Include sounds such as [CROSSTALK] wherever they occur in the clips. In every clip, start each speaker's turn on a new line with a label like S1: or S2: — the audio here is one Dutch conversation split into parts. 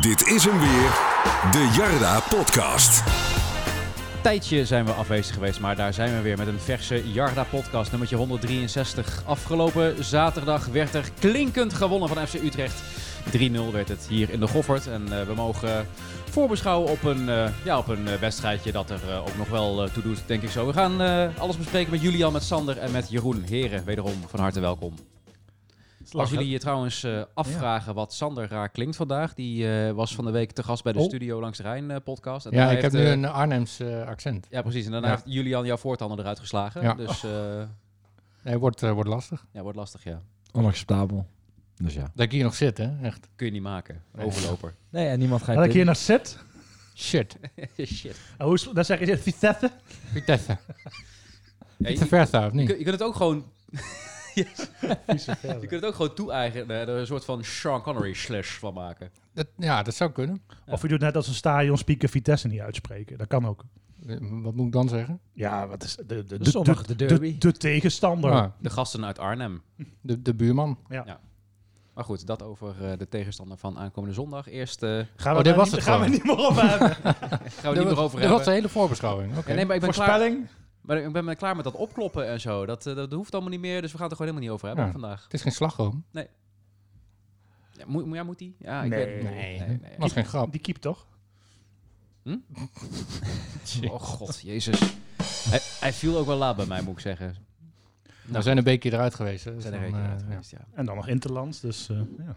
S1: Dit is hem weer, de Jarda Podcast.
S2: tijdje zijn we afwezig geweest, maar daar zijn we weer met een verse Jarda podcast nummertje 163. Afgelopen zaterdag werd er klinkend gewonnen van FC Utrecht. 3-0 werd het hier in de Goffert en eh, we mogen eh, voorbeschouwen op een, eh, ja, op een eh, wedstrijdje dat er eh, ook nog wel eh, toe doet, denk ik zo. We gaan eh, alles bespreken met Julian, met Sander en met Jeroen. Heren, wederom van harte welkom. Als jullie je trouwens eh, afvragen wat Sander raar klinkt vandaag, die eh, was van de week te gast bij de
S3: Oh.
S2: Studio Langs de Rijn eh, podcast. En
S3: Ja,
S2: hij
S3: ik heb
S2: heeft,
S3: nu
S2: eh,
S3: een Arnhems eh, accent.
S2: Ja, precies. En daarna
S3: Ja.
S2: heeft Julian jouw voortanden eruit geslagen.
S3: Ja.
S2: Dus eh,
S3: Nee, wordt, eh, wordt lastig.
S2: ja, wordt lastig, ja.
S4: Onacceptabel. Dus ja.
S3: Dat ik hier nog zit, hè? Echt.
S2: Kun je niet maken.
S3: Nee. [LAUGHS]
S2: Overloper.
S4: Nee, en niemand gaat
S5: En dat ik hier naar zit.
S2: [LAUGHS]
S3: Shit.
S2: Shit.
S5: En hoe, is- dan zeg je Vitesse.
S3: Vitesse.
S2: Ja, je,
S3: Te ver staan, of
S2: je
S3: niet?
S2: kun- je kunt het ook gewoon... Yes. je kunt het ook gewoon toe-eigenen. Er een soort van Sean Connery slash van maken.
S3: Dat, ja, dat zou kunnen.
S2: Ja.
S5: Of je doet net als een stadion speaker Vitesse niet uitspreken. Dat kan ook.
S3: Eh, Wat moet ik dan zeggen?
S5: Ja, wat is de, de, de,
S4: zondag, de derby.
S5: de, de tegenstander.
S3: Ah,
S2: De gasten uit Arnhem.
S3: de, de buurman.
S2: Maar goed, dat over eh, de tegenstander van aankomende zondag. Eerst eh,
S5: Gaan, we
S3: Oh, dit
S5: daar
S3: was
S5: niet,
S3: het
S5: gaan we
S3: gewoon.
S5: niet meer op hebben.
S2: gaan we het niet meer over
S3: dat was de
S2: hebben.
S3: hele voorbeschouwing. Oké.
S2: Ja, nee, maar ik ben, klaar,
S4: Voorspelling.
S2: maar ik ben klaar met dat opkloppen en zo. Dat, eh, dat hoeft allemaal niet meer, dus we gaan het er gewoon helemaal niet over hebben
S3: Ja.
S2: vandaag.
S3: Het is geen slagroom.
S2: Ja, moet, ja, moet die? Ja, ik
S5: Nee.
S2: weet het niet.
S3: Nee.
S2: nee, Nou. nee.
S3: Dat was geen grap.
S5: Die keep toch?
S2: Oh god, jezus. Hij, hij viel ook wel laat bij mij, moet ik zeggen.
S3: We zijn een beetje eruit geweest. hè, dus
S2: Zijn er
S3: dan,
S2: rekening
S3: eh,
S2: uit
S3: ja.
S2: geweest, ja.
S5: En dan nog Interlands. Dus eh, ja.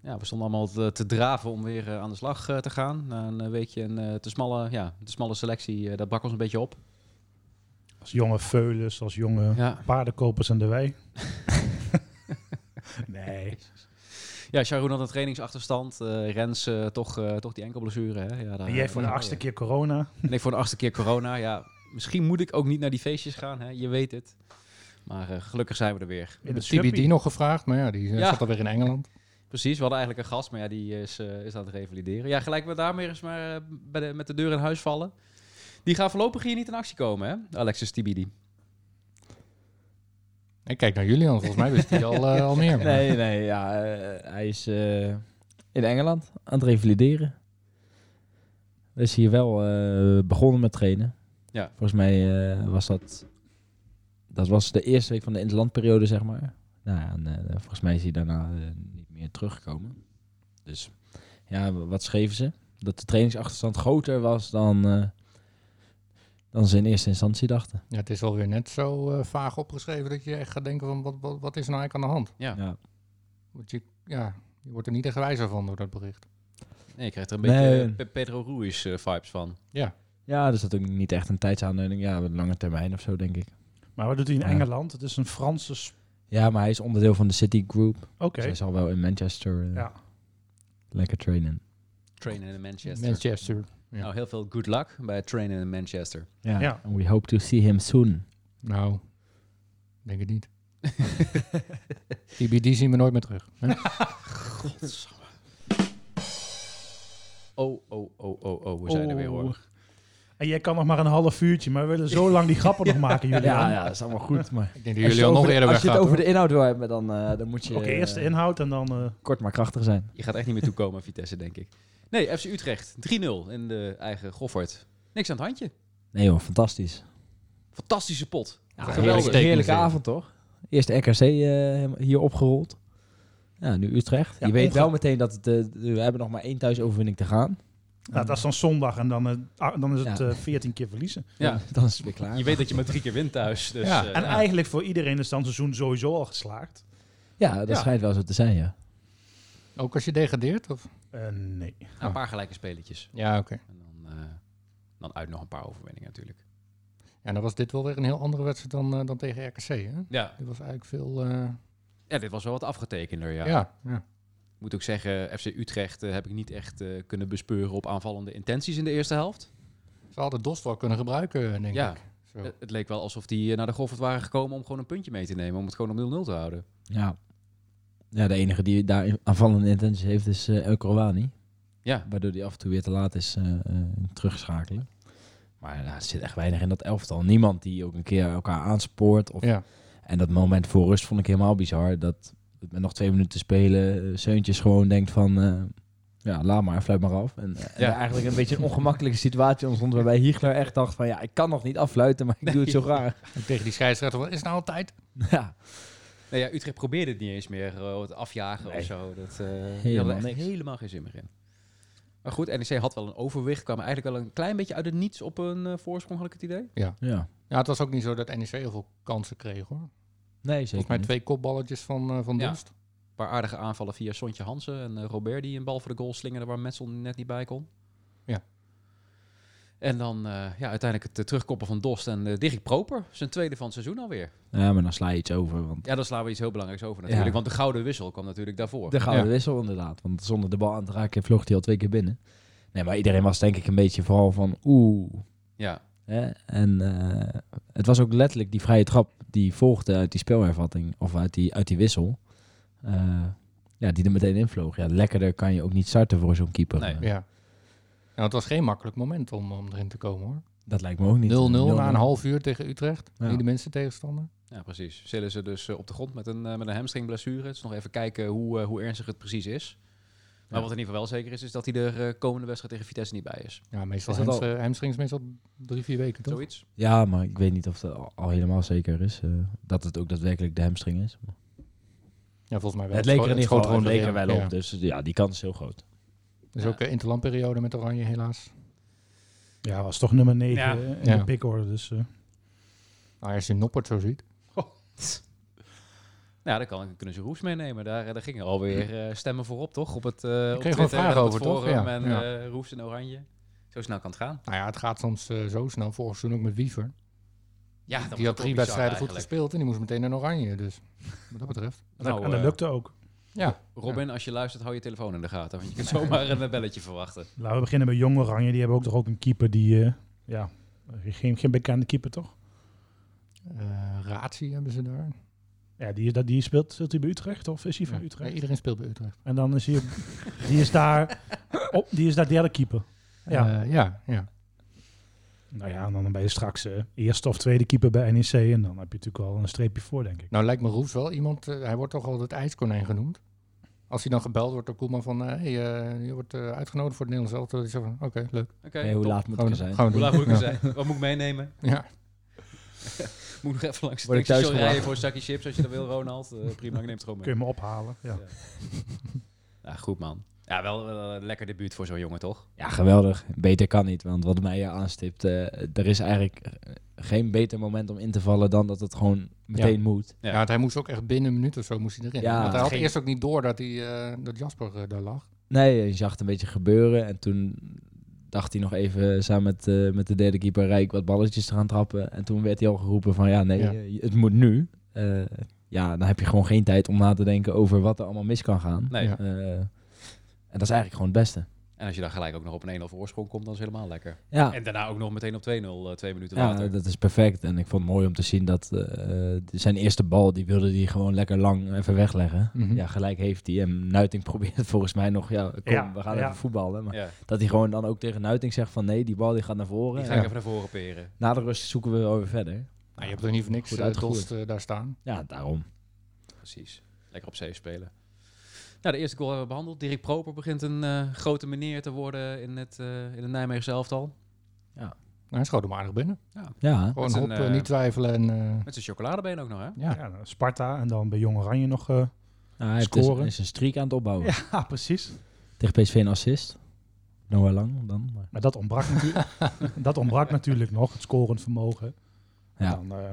S2: ja. We stonden allemaal te, te draven om weer eh, aan de slag eh, te gaan. Na een eh, weekje een eh, te, smalle, ja, te smalle selectie, eh, dat brak ons een beetje op.
S5: als jonge veulens, als jonge
S2: Ja,
S5: paardenkopers en de wij. nee.
S2: ja Sharon had een trainingsachterstand. eh, Rens eh, toch, eh, toch die enkelblessure. Hè? Ja, daar-
S5: En jij voor de
S2: Ja, [LAUGHS]
S5: achtste
S2: ja.
S5: keer corona.
S2: En ik voor de achtste keer corona. Ja, misschien moet ik ook niet naar die feestjes gaan, hè? je weet het. Maar eh, gelukkig zijn we er weer.
S5: In
S3: De
S5: het
S3: TBD
S5: Schuppie.
S3: nog gevraagd, maar ja, die eh,
S2: Ja.
S3: zat alweer in Engeland.
S2: Precies, we hadden eigenlijk een gast, maar ja, die is, eh, is aan het revalideren. Ja, gelijk met daarmee eens maar eh, bij de, met de deur in huis vallen. Die gaan voorlopig hier niet in actie komen, hè? Alexis Tibidi.
S3: Ik kijk naar jullie, want volgens mij wist hij al,
S2: [LAUGHS]
S3: eh, al meer. maar-
S4: Nee, nee, ja. eh, hij is eh, in Engeland aan het revalideren. Hij is hier wel eh, begonnen met trainen.
S2: Ja.
S4: Volgens mij eh, was dat... Dat was de eerste week van de interlandperiode, zeg maar. Nou ja, en, eh, volgens mij is hij daarna eh, niet meer teruggekomen. Dus ja, w- wat schreven ze? Dat de trainingsachterstand groter was dan, eh, dan ze in eerste instantie dachten.
S3: Ja, het is alweer net zo eh, vaag opgeschreven dat je echt gaat denken van wat, wat, wat is er nou eigenlijk aan de hand?
S2: Ja.
S4: ja.
S3: Want je, ja, je wordt er niet echt wijzer van door dat bericht.
S2: Nee, ik krijg er een
S4: Nee.
S2: beetje eh, Pe- Pedro Ruiz eh, vibes van.
S4: Ja, dus dat ook niet echt een tijdsaanleiding. Ja, een lange termijn of zo, denk ik.
S5: Maar wat doet hij in
S4: Ja.
S5: Engeland? Het is een Franse... sp-
S4: Ja, maar hij is onderdeel van de City Group.
S5: Oké.
S4: Dus hij zal wel in Manchester eh,
S5: Ja.
S4: lekker trainen.
S2: Trainen in Manchester.
S3: Manchester. ja.
S2: Nou, heel veel good luck bij trainen in Manchester.
S4: Ja.
S5: Ja.
S4: And we hope to see him soon.
S3: Nou, denk het niet. [LAUGHS] TBD zien we nooit meer terug. hè?
S2: Godsamme. Oh, oh, oh, oh, oh, we zijn er weer hoor.
S5: En jij kan nog maar een half uurtje, maar we willen zo lang die grappen nog maken, jullie.
S4: Ja, ja, dat is allemaal goed. Maar
S3: Ik denk dat [LAUGHS] jullie al nog
S4: Als
S3: eerder
S4: je het
S3: weggaan.
S4: over de inhoud wil hebben, dan, eh, dan moet je
S5: Oké, eerst de
S4: eh,
S5: inhoud en dan... eh,
S4: kort maar krachtig zijn.
S2: Je gaat echt niet meer toekomen, [LAUGHS] Vitesse, denk ik. Nee, FC Utrecht, 3-0 in de eigen Goffert. Niks aan het handje.
S4: Nee hoor, fantastisch.
S2: Fantastische pot.
S3: heerlijk
S4: heerlijke,
S3: steek
S4: heerlijke
S3: natuurlijk.
S4: avond toch? Eerst RKC eh, hier opgerold. Ja, nu Utrecht.
S5: Ja,
S4: je weet
S5: onge-
S4: wel meteen dat het, eh, we hebben nog maar één thuisoverwinning te gaan.
S5: Nou, dat is dan zondag en dan, eh, ah, dan is het
S4: Ja.
S5: eh 14 keer verliezen.
S2: Ja.
S4: [LAUGHS] Dan is het weer klaar.
S2: Je weet dat je maar drie keer wint thuis. Dus,
S3: Ja.
S2: eh,
S5: En eigenlijk voor iedereen is dan het seizoen sowieso al geslaagd.
S4: Ja, dat
S5: Ja.
S4: schijnt wel zo te zijn, ja.
S3: Ook als je degradeert? Of?
S5: Eh, nee.
S2: Een paar gelijke spelletjes.
S3: Ja, oké.
S2: En dan, eh, dan uit nog een paar overwinningen natuurlijk.
S3: Ja, dan was dit wel weer een heel andere wedstrijd dan, eh, dan tegen RKC. Hè?
S2: Ja.
S3: Dit was eigenlijk veel... eh,
S2: ja, dit was wel wat afgetekender. Ja.
S3: ja. Ja, ja.
S2: Ik moet ook zeggen, FC Utrecht eh, heb ik niet echt eh, kunnen bespeuren op aanvallende intenties in de eerste helft.
S3: Ze hadden Dost wel kunnen gebruiken, denk
S2: Ja.
S3: ik. Zo.
S2: Eh, het leek wel alsof die eh, naar de Goffert waren gekomen om gewoon een puntje mee te nemen. Om het gewoon op 0-0 te houden.
S4: Ja. Ja, de enige die daar aanvallende intenties heeft is eh El Kourouani.
S2: Ja,
S4: Waardoor die af en toe weer te laat is eh, eh, terugschakelen. Maar ja, er zit echt weinig in dat elftal. Niemand die ook een keer elkaar aanspoort. Of...
S3: ja.
S4: En dat moment voor rust vond ik helemaal bizar. Dat met nog twee minuten spelen, eh, Seuntjes gewoon denkt van... eh, ja, laat maar, fluit maar af. En, eh,
S2: Ja.
S4: eigenlijk een beetje een ongemakkelijke situatie ontstond waarbij Hiegler echt dacht van ja, ik kan nog niet affluiten, maar ik doe het zo graag.
S3: En tegen die scheidsrechter, wat is nou altijd?
S4: ja.
S2: Nou ja, Utrecht probeerde het niet eens meer, eh, het afjagen
S4: Nee.
S2: of zo. Dat, eh helemaal,
S4: Helemaal
S2: er echt
S4: niks.
S2: helemaal geen zin meer in. Maar goed, NEC had wel een overwicht, kwam eigenlijk wel een klein beetje uit het niets op een eh, voorsprong, had ik het idee.
S4: ja.
S3: Ja, het was ook niet zo dat NEC heel veel kansen kreeg hoor.
S4: Nee,
S3: Volgens
S4: zeker
S3: mij
S4: niet.
S3: twee kopballetjes van, eh, van
S2: Ja.
S3: Dunst.
S2: Een paar aardige aanvallen via Sontje Hansen en eh, Robert die een bal voor de goal slingerde waar Metsel net niet bij kon.
S3: Ja.
S2: En dan eh, ja, uiteindelijk het eh, terugkoppen van Dost en eh Dirk Proper, zijn tweede van het seizoen alweer.
S4: Ja, maar dan sla je iets over, want
S2: Ja, dan slaan we iets heel belangrijks over natuurlijk,
S4: Ja.
S2: want de gouden wissel kwam natuurlijk daarvoor.
S4: de gouden
S3: Ja.
S4: wissel inderdaad. Want zonder de bal aan te raken vloog hij al twee keer binnen. Nee, maar iedereen was denk ik een beetje vooral van oeh.
S2: Ja,
S4: Hè? En eh, het was ook letterlijk die vrije trap die volgde uit die speelhervatting, of uit die, uit die wissel. eh, ja, die er meteen invloog. Ja, lekkerder kan je ook niet starten voor zo'n keeper.
S2: Nee.
S4: Eh,
S3: Ja. Nou, het was geen makkelijk moment om, om erin te komen hoor. 0-0
S4: Dat lijkt me ook niet.
S3: na een half uur tegen Utrecht.
S4: Ja.
S3: Niet de minste tegenstander.
S2: Ja, precies. Zillen ze dus eh, op de grond met een, eh, met een hamstringblessure. Dus nog even kijken hoe, eh, hoe ernstig het precies is. Maar
S4: Ja.
S2: wat in ieder geval wel zeker is, is dat hij er eh, komende wedstrijd tegen Vitesse niet bij is.
S3: Ja, meestal
S4: Is dat
S3: hems, eh, hamstrings meestal drie, vier weken toch?
S2: Zoiets.
S4: Ja, maar ik weet niet of dat al, al helemaal zeker is. eh, dat het ook daadwerkelijk de hamstring is.
S3: Ja, volgens mij wel.
S4: het leek er in
S3: scho-
S4: ieder
S3: schoot
S4: geval het leek er
S3: gewoon
S4: wel
S3: erin.
S4: op.
S3: Ja.
S4: Dus ja, die kans is heel groot.
S3: Dus
S2: Ja.
S3: ook eh, interlandperiode met Oranje helaas.
S5: Ja, was toch nummer 9
S2: Ja.
S5: in
S3: Ja.
S5: de pickorde. Dus eh,
S3: Nou, als je Noppert zo ziet.
S2: Nou, dan kan, kunnen ze Roes meenemen. Daar, eh, daar gingen
S3: Hm.
S2: alweer eh, stemmen voorop, toch? Op het, eh op
S3: kreeg
S2: Twitter
S3: wel vragen
S2: en op het
S3: over, toch?
S2: forum
S3: Ja,
S2: En
S3: ja.
S2: eh, Roes en Oranje. Zo snel kan het gaan.
S3: Nou ja, het gaat soms eh, zo snel. Vorig seizoen ook met Wiever.
S2: Ja, dat
S3: die had drie wedstrijden goed gespeeld en die moest meteen naar Oranje. Dus wat dat betreft.
S2: Nou,
S5: en dat
S2: eh,
S5: lukte ook.
S3: Ja,
S2: Robin, als je luistert, hou je telefoon in de gaten.
S3: [LAUGHS]
S2: Want je kunt zomaar een eh, belletje verwachten.
S5: Laten we beginnen bij Jong Oranje. Die hebben ook toch ook een keeper die... eh, ja, geen, geen bekende keeper toch?
S3: eh Ratie hebben ze daar.
S5: Ja, die, is dat- die speelt, speelt hij bij Utrecht of is hij van
S3: Ja,
S5: Utrecht?
S3: iedereen speelt bij Utrecht.
S5: En dan is hij... op- die is daar... Op, die is daar derde keeper. Ja.
S3: Eh, ja, ja.
S5: Nou ja, en dan ben je straks eh, eerste of tweede keeper bij NEC. En dan heb je natuurlijk al een streepje voor, denk ik.
S3: Nou lijkt me Roefs wel iemand, eh, hij wordt toch altijd ijskonijn genoemd. Als hij dan gebeld wordt door Koeman van, eh, hey, eh, je wordt eh, uitgenodigd voor het Nederlands elftal. Dan zegt van, oké, leuk.
S2: Oké,
S4: Hey, hoe
S2: top.
S4: laat moet
S3: Gaan
S4: het
S3: we-
S4: er zijn?
S3: gaan we
S2: Hoe
S3: doen.
S2: laat moet ik er
S3: Ja.
S2: zijn? Wat moet ik meenemen?
S3: Ja.
S2: Moet ik nog even langs de
S4: Word ik
S2: tankstation
S4: thuis
S2: rijden
S4: gebracht?
S2: voor een zakje chips als je dat wil, Ronald? Eh, prima, ik neem het gewoon mee.
S5: Kun je me ophalen. Ja.
S2: Ja, goed man. Ja, wel wel een lekker debuut voor zo'n jongen, toch?
S4: Ja, geweldig. Beter kan niet. Want wat mij aanstipt, eh, er is eigenlijk eh, geen beter moment om in te vallen dan dat het gewoon meteen moet.
S2: Ja.
S3: Ja, want hij moest ook echt binnen een minuut of zo moest hij erin.
S4: Ja.
S3: want hij had
S2: Geen-
S3: eerst ook niet door dat, hij, eh, dat Jasper eh, daar lag.
S4: Nee, je zag het een beetje gebeuren. En toen dacht hij nog even samen met, eh, met de derde keeper Rijk wat balletjes te gaan trappen. En toen werd hij al geroepen van ja, nee,
S3: Ja.
S4: eh, het moet nu. Eh, ja, dan heb je gewoon geen tijd om na te denken over wat er allemaal mis kan gaan.
S2: Nee.
S3: Ja.
S4: Eh, en dat is eigenlijk gewoon het beste.
S2: En als je dan gelijk ook nog op een 1-0 voorsprong komt, dan is het helemaal lekker.
S4: Ja,
S2: En daarna ook nog meteen op 2-0, eh, twee minuten
S4: ja
S2: later.
S4: dat is perfect. En ik vond het mooi om te zien dat eh, eh, zijn eerste bal, die wilde hij gewoon lekker lang even wegleggen.
S3: Mhm.
S4: Ja, gelijk heeft hij. En Nuiting [LAUGHS] probeert volgens mij nog, ja, kom,
S5: Ja,
S4: we gaan
S5: ja.
S4: even voetballen. Maar
S2: Ja,
S4: dat hij gewoon dan ook tegen Nuiting zegt van nee, die bal die gaat naar voren.
S2: die ga
S4: En
S2: ik even naar voren peren.
S4: Na de rust zoeken we wel weer verder.
S3: Nou, je hebt er niet voor niks
S4: Goed
S3: eh,
S4: uitgevoerd.
S3: Dost eh, daar staan.
S4: Ja, daarom.
S2: Precies. Lekker op safe spelen. Nou, de eerste goal hebben we behandeld. Dirk Proper begint een eh, grote meneer te worden in het, eh in het Nijmeegse elftal.
S3: Nou, hij schoot hem aardig binnen.
S4: Ja,
S3: Gewoon
S2: zijn,
S3: hop, eh,
S2: eh,
S3: niet twijfelen en... eh,
S2: Met zijn chocoladebeen ook nog, hè?
S3: ja.
S5: Ja, dan Sparta en dan bij Jong Oranje nog. eh,
S4: nou, hij heeft
S5: Scoren.
S4: dus- hij is een streak aan het opbouwen.
S5: ja, precies.
S4: Tegen PSV een assist. Noah Lang dan. Maar.
S5: Maar dat ontbrak,
S4: [LAUGHS]
S5: natuurlijk, dat ontbrak natuurlijk nog, het scorend vermogen.
S4: Ja.
S5: Dan, eh,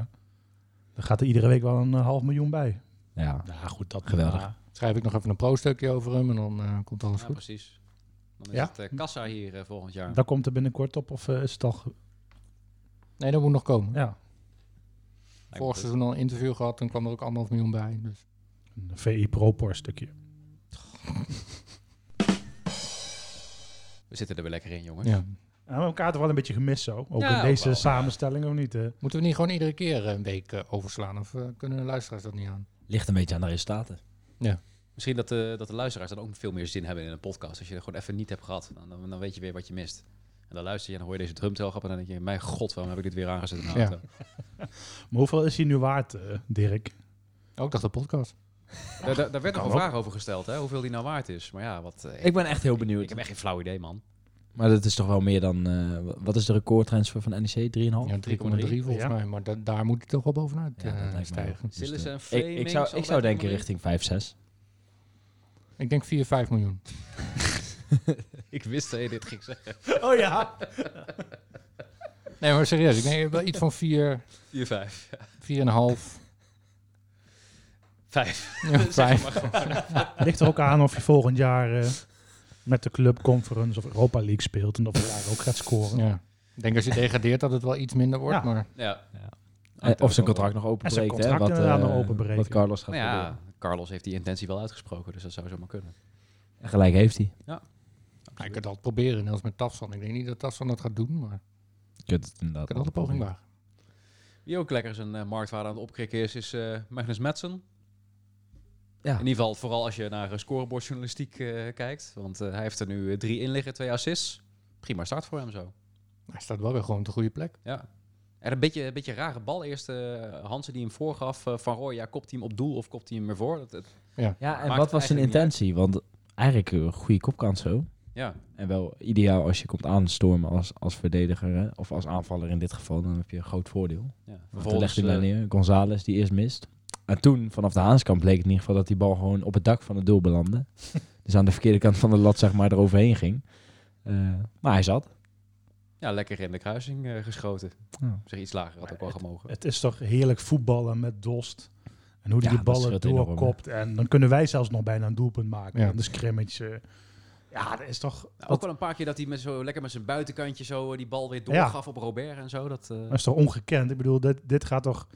S5: dan gaat er iedere week wel een eh, half miljoen bij.
S4: Ja.
S5: Ja, goed, dat
S4: Geweldig.
S5: ja.
S3: Schrijf ik nog even een pro-stukje over hem en dan eh, komt alles
S2: Ja,
S3: goed.
S2: precies. Dan is
S5: Ja.
S2: het eh, kassa hier eh, volgend jaar.
S5: dat komt er binnenkort op, of eh, is het al... ge-
S3: Nee, dat moet nog komen.
S5: Ja,
S2: Lijkt me
S3: Vorig
S2: goed.
S3: seizoen al een interview gehad, toen kwam er ook anderhalf miljoen bij. Dus.
S5: een VI Pro-por stukje.
S2: We zitten er weer lekker in, jongens.
S3: Ja.
S5: Ja, we hebben elkaar toch wel een beetje gemist zo. Ook
S2: Ja,
S5: in
S2: ook
S5: deze
S2: Nou, wel, ja.
S5: samenstelling of niet? eh?
S3: Moeten we niet gewoon iedere keer eh, een week eh, overslaan? Of eh, kunnen de luisteraars dat niet aan?
S4: Ligt een beetje aan de resultaten.
S2: Misschien dat de, dat de luisteraars dan ook veel meer zin hebben in een podcast. Als je er gewoon even niet hebt gehad, dan, dan, dan weet je weer wat je mist. En dan luister je en dan hoor je deze drumtelgrap en dan denk je... Mijn god, waarom heb ik dit weer aangezet in de
S3: Ja.
S2: auto?
S5: Maar hoeveel is hij nu waard, eh, Dirk?
S3: Ook dacht de podcast.
S2: Daar, daar daar werd nog
S5: Kan
S2: een
S5: ook.
S2: vraag over gesteld, hè? hoeveel die nou waard is. Maar ja, wat, eh, ik,
S4: Ik ben echt heel benieuwd.
S2: ik heb echt geen flauw idee, man.
S4: Maar dat is toch wel meer dan... eh, wa- wat is de recordtransfer van E NEC? 3,5?
S5: Oh,
S3: Ja, 3,3 volgens
S5: Ja.
S3: mij. Maar da- daar moet het toch wel bovenuit
S4: Ja, dat
S3: eh,
S4: lijkt me
S3: stijgen.
S4: Dus,
S2: Sillis
S4: eh,
S2: en
S4: ik, ik
S2: Fleming,
S4: zou, ik
S2: allebei
S4: zou denken
S2: onder-
S4: richting Eh, 5,
S2: Ah,
S4: 6.
S3: Ik denk 4, 5 miljoen.
S2: Ik wist dat je dit ging zeggen.
S5: Oh ja.
S3: Nee, maar serieus. Ik denk eh, wel iets van 4,
S2: 4, 5.
S3: 4,5.
S5: [LAUGHS]
S4: [LAUGHS]
S2: 5.
S3: Ja, vijf.
S5: Het ligt er ook aan of je volgend jaar eh, met de Club Conference of Europa League speelt. En of je daar ook gaat scoren.
S3: Ja. Ik denk als je degradeert dat het wel iets minder wordt.
S5: Ja.
S3: Maar
S2: Ja.
S4: Ja. Eh,
S2: Ah, dat
S4: of zijn
S2: ook wel.
S4: contract nog openbreekt.
S5: En zijn contract
S4: hè, wat,
S5: inderdaad
S4: eh,
S5: nog openbreken.
S4: Wat Carlos gaat
S2: Nou ja,
S4: proberen.
S2: Carlos heeft die intentie wel uitgesproken, dus dat zou zomaar kunnen.
S4: En gelijk heeft hij.
S3: ik kan het altijd proberen. Net als met Tafsan. Ik denk niet dat Tafsan dat gaat doen. Maar
S4: Je kunt het
S3: ik
S4: inderdaad
S3: kan altijd een
S4: nog
S3: poging
S4: proberen.
S3: wagen.
S2: Wie ook lekker zijn eh, marktwaarde aan het opkrikken is, is eh, Magnus Madsen.
S4: Ja.
S2: In ieder geval, vooral als je naar eh, scorebordjournalistiek eh, kijkt. Want eh, hij heeft er nu eh, drie in liggen, twee assists. Prima start voor hem zo.
S3: Hij staat wel weer gewoon op de goede plek.
S2: Ja. En een beetje, een beetje rare bal. Eerst eh, Hansen die hem voorgaf. eh, van Roy, ja, kopt hij hem op doel of kopt hij hem ervoor? Dat, dat-
S4: Ja, en wat was
S2: Maakt
S4: zijn
S2: eigenlijk niet
S4: intentie? Want eigenlijk een goede kopkant zo.
S2: ja.
S4: En wel ideaal als je komt aanstormen als, als verdediger. hè, Of als aanvaller in dit geval. Dan heb je een groot voordeel.
S2: ja.
S4: Want toen
S2: Vervolgens
S4: legde hij daar
S2: eh,
S4: neer. González die eerst mist. En toen, vanaf de Haaskant, bleek het in ieder geval dat die bal gewoon op het dak van het doel belandde. dus aan de verkeerde kant van de lat, zeg maar, eroverheen ging. Eh, maar hij zat.
S2: ja, lekker in de kruising eh, geschoten.
S4: Ja.
S2: Op zich iets lager had ook wel gemogen. Nou,
S5: Het is toch heerlijk voetballen met Dost. En hoe die,
S4: Ja,
S5: die
S4: dat
S5: ballen
S4: scheelt enorm, hè.
S5: doorkopt. En dan kunnen wij zelfs nog bijna een doelpunt maken.
S3: Ja.
S5: aan de scrimmage. eh. Ja, dat is toch...
S2: Nou, ook
S5: dat-
S2: wel een paar keer dat hij met zo, lekker met zijn buitenkantje zo eh, die bal weer
S5: Ja.
S2: doorgaf op Robert en zo. Dat, eh,
S5: Dat is toch ongekend? Ik bedoel, dit, dit gaat toch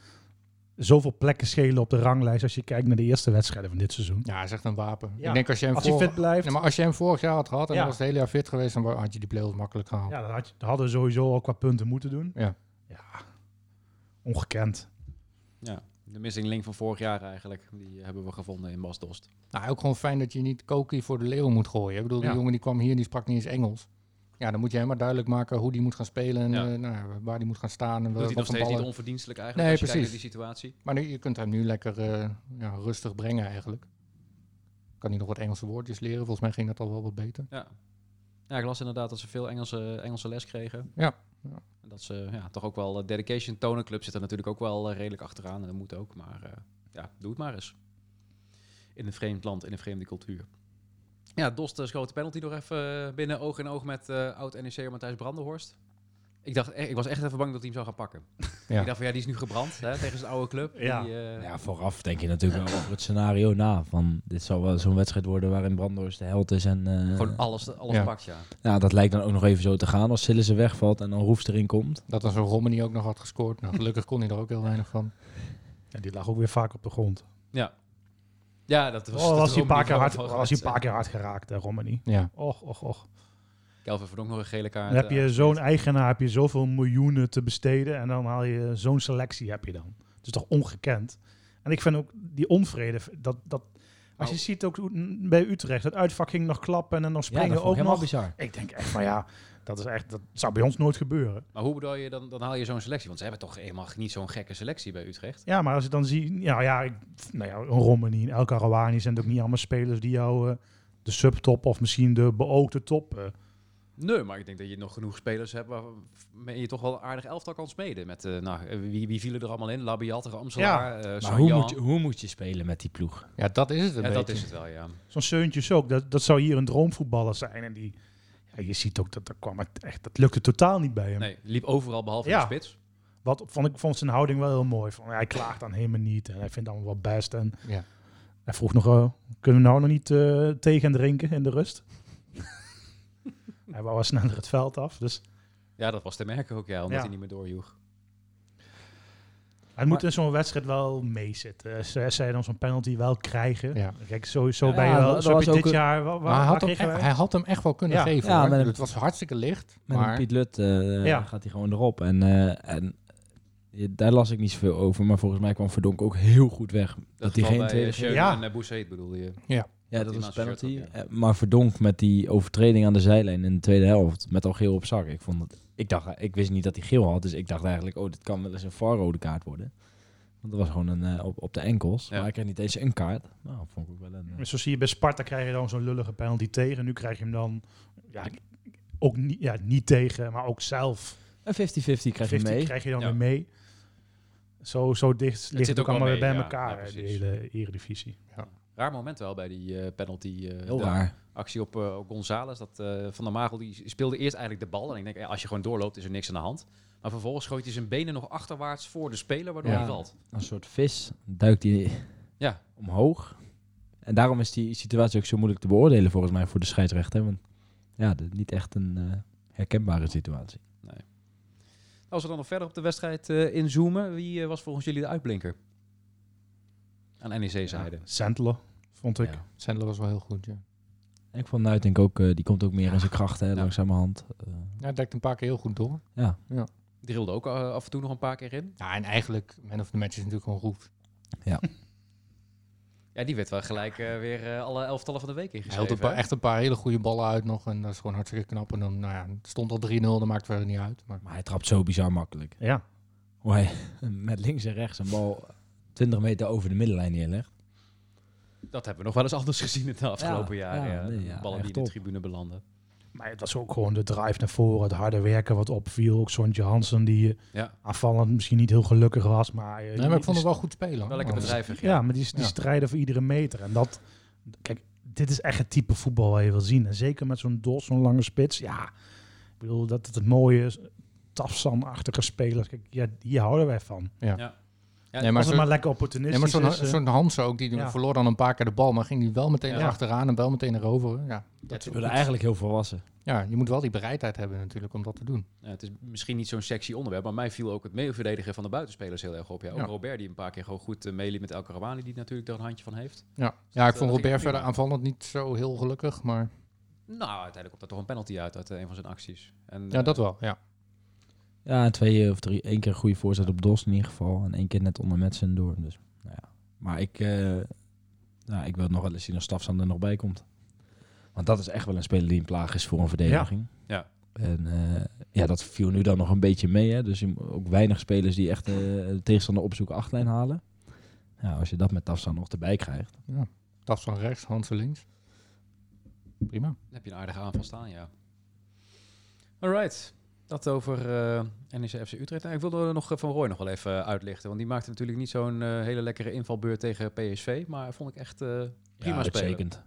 S5: zoveel plekken schelen op de ranglijst als je kijkt naar de eerste wedstrijden van dit seizoen.
S3: Ja, hij is echt een wapen.
S5: Ja.
S3: Ik denk als je hem
S5: Als hij
S3: vorig-
S5: fit blijft,
S3: Nee, maar als je hem vorig jaar had gehad en
S5: Ja.
S3: hij was het hele jaar fit geweest, dan wa- had je die play-offs makkelijk gehaald.
S5: ja, dan, had je, dan hadden we sowieso al qua punten moeten doen.
S3: Ja.
S5: Ja, ongekend.
S2: ja. De missing link van vorig jaar eigenlijk. Die hebben we gevonden in Bas Dost.
S3: Nou, ook gewoon fijn dat je niet Koki voor de leeuw moet gooien. Ik bedoel, die
S5: Ja.
S3: jongen die kwam hier en die sprak niet eens Engels. Ja, dan moet je hem maar duidelijk maken hoe die moet gaan spelen en
S2: Ja.
S3: eh, nou, ja, waar die moet gaan staan. En
S2: Doet
S3: wat
S2: hij nog
S3: voor
S2: steeds niet
S3: ballen.
S2: onverdienstelijk eigenlijk
S3: Nee,
S2: als je kijkt naar
S3: precies.
S2: die situatie.
S3: Maar nu, je kunt hem nu lekker eh, ja, rustig brengen eigenlijk. Kan hij nog wat Engelse woordjes leren? Volgens mij ging dat al wel wat beter.
S2: Ja. ja, ik las inderdaad dat ze veel Engelse, Engelse les kregen.
S3: Ja, ja.
S2: En Dat ze ja, toch ook wel eh, dedication tonen. Club zit er natuurlijk ook wel eh, redelijk achteraan. En dat moet ook. Maar eh, ja, doe het maar eens. In een vreemd land, in een vreemde cultuur. Ja, Dost eh, schoot de penalty nog even eh, binnen. Oog in oog met eh, oud-NEC'er Matthijs Brandenhorst. Ik, dacht, e- ik was echt even bang dat hij hem zou gaan
S5: [LAUGHS]
S2: pakken.
S3: Ja.
S2: Ik dacht van ja, die is nu gebrand hè, tegen zijn oude club.
S5: Ja.
S2: Die, eh,
S4: Ja, vooraf denk je natuurlijk wel over het scenario na. Van dit zal wel zo'n wedstrijd worden waarin Brandhorst de held is. En, eh,
S2: Gewoon alles, alles
S3: Ja.
S2: pakt, ja.
S4: nou, dat lijkt dan ook nog even zo te gaan als Sillissen wegvalt en dan Roefs erin komt.
S3: Dat als een Romney ook nog had gescoord. Nou, gelukkig kon hij er ook heel weinig van.
S5: En die lag ook weer vaak op de grond.
S2: Ja, dat was,
S5: Oh,
S2: dat
S5: was hij een paar keer
S2: droomniveau
S5: hard,
S2: van
S5: was hij een
S2: Gert.
S5: paar keer hard geraakt, hè, Romani.
S3: Ja,
S5: Och, och, och.
S2: Kelvin Verdonk nog een gele kaart.
S5: Dan heb
S2: eh,
S5: je zo'n eigenaar, heb je zoveel miljoenen te besteden en dan haal je zo'n selectie heb je dan. Het is toch ongekend. En ik vind ook die onvrede, dat, dat als je
S2: Nou.
S5: ziet ook hoe- n- bij Utrecht, dat uitvak ging nog klappen en nog
S4: dat
S5: springen
S4: vond ik
S5: ook
S4: helemaal
S5: nog.
S4: bizar.
S5: Ik denk echt van ja, dat is echt, dat zou bij ons nooit gebeuren.
S2: Maar hoe bedoel je, dan, dan haal je zo'n selectie? Want ze hebben toch eenmaal niet zo'n gekke selectie bij Utrecht.
S5: Ja, maar als ik dan zie, nou ja, ik, nou ja een Romani, een El Karawani zijn ook niet allemaal spelers die jou eh, de subtop of misschien de beoogde top. eh,
S2: Nee, maar ik denk dat je nog genoeg spelers hebt waarmee je toch wel een aardig elftal kan smeden. Met, eh, nou, eh, wie, wie vielen er allemaal in? Labiat, Amselaar, eh
S4: Maar hoe
S2: Sanjan.
S4: moet, je, hoe moet je spelen met die ploeg?
S3: ja dat is het een
S2: Ja, dat
S3: beetje.
S2: is het wel, ja.
S5: Zo'n Seuntjes ook. Dat, dat zou hier een droomvoetballer zijn. En die, ja, je ziet ook dat dat kwam het echt, dat lukte totaal niet bij hem.
S2: Nee, liep overal behalve in
S5: Ja.
S2: de spits.
S5: Wat vond ik vond zijn houding wel heel mooi. Van, hij klaagt dan helemaal niet en hij vindt allemaal wel best. En
S3: Ja.
S5: hij vroeg nog, eh, kunnen we nou nog niet eh, thee gaan drinken in de rust? [LAUGHS] hij wou wel sneller het veld af. Dus
S2: Ja, dat was te merken ook, ja, omdat
S5: Ja.
S2: hij niet meer doorjoeg.
S5: hij moet in zo'n wedstrijd wel meezitten. Eh, Zij zij dan zo'n penalty wel krijgen.
S3: Ja.
S5: Kijk, sowieso
S4: Ja,
S5: ben je
S4: dat-
S5: wel,
S4: dat
S5: zo heb
S4: was
S5: je
S4: ook
S5: dit
S4: een-
S5: jaar... Waar,
S3: Maar hij
S5: waar
S3: had, hem
S5: kregen
S3: echt,
S5: wij-
S3: hij had hem echt wel kunnen
S5: Ja.
S3: geven.
S4: Ja,
S3: hoor.
S4: met een-
S3: het was hartstikke licht.
S4: Met
S3: maar
S4: een Piet Lut eh,
S5: Ja.
S4: gaat hij gewoon erop. En, eh, en je- daar las ik niet zoveel over. Maar volgens mij kwam Verdonk ook heel goed weg. Dat, hij
S2: geval
S4: geen
S2: bij,
S4: tweede
S2: eh, Schöne
S5: Ja.
S2: en eh, Boussaïd bedoel je.
S4: Ja, dat was
S2: Dat
S4: een
S2: hij naast
S4: penalty.
S2: zijn shirt
S4: Eh, Maar verdonk met die overtreding aan de zijlijn in de tweede helft. Met al geel op zak. eh, Ik, vond het, ik, dacht, ik wist niet dat hij geel had. Dus ik dacht eigenlijk, oh, dit kan wel eens een VAR-rode kaart worden. Want dat was gewoon een, eh, op, op de enkels.
S2: Ja.
S4: Maar ik kreeg niet eens een kaart. Nou, dat vond ik ook wel een... eh,
S5: Maar Zo zie je bij Sparta krijg je dan zo'n lullige penalty tegen. Nu krijg je hem dan ja, ook niet, ja, niet tegen, maar ook zelf.
S4: Een 50-50 krijg je
S5: 50
S4: mee.
S5: krijg je dan
S2: Ja.
S5: weer mee. Zo, zo dicht ligt
S2: zit
S5: het ook
S2: ook wel
S5: allemaal weer bij
S2: mee, ja. Ja,
S5: elkaar, hè, die
S2: precies.
S5: hele eredivisie.
S2: Raar moment wel bij die eh, penalty. eh,
S4: Heel
S2: de
S4: raar.
S2: Actie op eh, op González. Dat, eh, Van der Magel die speelde eerst eigenlijk de bal. En ik denk, eh, als je gewoon doorloopt, is er niks aan de hand. Maar vervolgens schoot hij zijn benen nog achterwaarts voor de speler, waardoor
S4: Ja.
S2: hij valt.
S4: Een soort vis duikt hij
S2: Ja.
S4: omhoog. En daarom is die situatie ook zo moeilijk te beoordelen volgens mij voor de scheidsrechter. Want ja, dit is niet echt een eh, herkenbare situatie.
S2: Nou, Als we dan nog verder op de wedstrijd eh, inzoomen, wie eh, was volgens jullie de uitblinker? Aan E NEC-zijde.
S5: Sentler, vond ik.
S4: Ja.
S3: Sendler was wel heel goed, ja.
S4: En ik vond Nuitink ook, eh, die komt ook meer in zijn kracht hè,
S2: Ja.
S4: langzamerhand. Eh,
S3: Ja, hij dekt een paar keer heel goed door.
S4: ja,
S2: Drilde ook eh, af en toe nog een paar keer in.
S3: Ja, en eigenlijk, man of the match is natuurlijk gewoon Roef.
S2: Ja, die werd wel gelijk eh, weer eh, alle elftallen van de week
S3: Hij hield een
S2: ingeschreven.
S3: paar,
S2: hè?
S3: echt een paar hele goede ballen uit nog. En dat is gewoon hartstikke knap. En dan, nou ja, het stond al 3-0, dat maakt verder niet uit. Maar
S4: maar hij trapt zo bizar makkelijk.
S5: Ja,
S4: Hoe hij [LAUGHS] met links en rechts een bal 20 meter over de middenlijn neerlegt.
S2: Dat hebben we nog wel eens anders gezien in de afgelopen
S4: Ja,
S2: jaren.
S4: ja,
S2: Ja,
S4: nee, ja,
S2: ballen die
S4: echt
S2: in de
S4: top.
S2: tribune belanden.
S5: maar het was ook gewoon de drive naar voren, het harde werken wat opviel. Ook Sontje Hansen die eh,
S2: Ja,
S5: aanvallend misschien niet heel gelukkig was, maar... eh,
S3: Nee, maar ik vond
S5: die-
S3: hem wel goed spelen. hoor.
S2: wel lekker
S3: Maar-
S2: bedrijvig. Ja.
S5: Ja, maar die, die
S3: Ja.
S5: strijden voor iedere meter. En dat, kijk, dit is echt het type voetbal waar je wil zien. En zeker met zo'n dos, zo'n lange spits. Ja, ik bedoel dat het het mooie is. Tafsan-achtige spelers. Kijk, ja, hier houden wij van.
S2: Ja,
S3: Nee, maar
S5: Maar Als het
S3: zo'n-
S5: maar lekker
S3: nee,
S5: opportunistisch
S3: maar zo'n
S5: is. eh,
S3: zo'n Hansen ook, die, die
S5: ja.
S3: verloor dan een paar keer de bal, maar ging die wel meteen
S2: Ja.
S3: erachteraan en wel meteen erover. Ja.
S2: het,
S4: Ze willen eigenlijk heel volwassen.
S3: ja, je moet wel die bereidheid hebben natuurlijk om dat te doen.
S2: ja, Nou, het is misschien niet zo'n sexy onderwerp, maar mij viel ook het meeverdedigen van de buitenspelers heel erg op. Ja, ook
S3: Ja.
S2: Robert die een paar keer gewoon goed eh, meeliep met El Karawani, die natuurlijk er een handje van heeft.
S3: Ja,
S2: dat,
S3: ja
S2: eh,
S3: ik
S2: dat
S3: vond
S2: ging
S3: Robert
S2: prima.
S3: verder aanvallend niet zo heel gelukkig, maar
S2: Nou, uiteindelijk komt daar toch een penalty uit uit eh, een van zijn acties. En,
S3: ja,
S2: eh,
S3: dat wel. Ja.
S4: Ja, en twee eh, of drie. één keer een goede voorzet op Dos in ieder geval. En één keer net onder Metsen door. Dus, nou ja. Maar ik, eh, nou, ik wil nog wel eens zien of Stafsan er nog bij komt. Want dat is echt wel een speler die een plaag is voor een verdediging.
S2: Ja.
S4: En eh, ja, dat viel nu dan nog een beetje mee. Hè? Dus je mo- ook weinig spelers die echt eh, de tegenstander opzoeken achtlijn halen. Ja, als je dat met Tafsan nog erbij krijgt.
S3: Taf van rechts, Hansen links. Prima.
S2: Dan heb je een aardige aanval staan, ja. Alright. Dat over eh NEC FC Utrecht. Nou, ik wilde er nog eh, Van Roy nog wel even eh, uitlichten. Want die maakte natuurlijk niet zo'n eh, hele lekkere invalbeurt tegen PSV. Maar vond ik echt eh, prima spelen.
S4: uitstekend.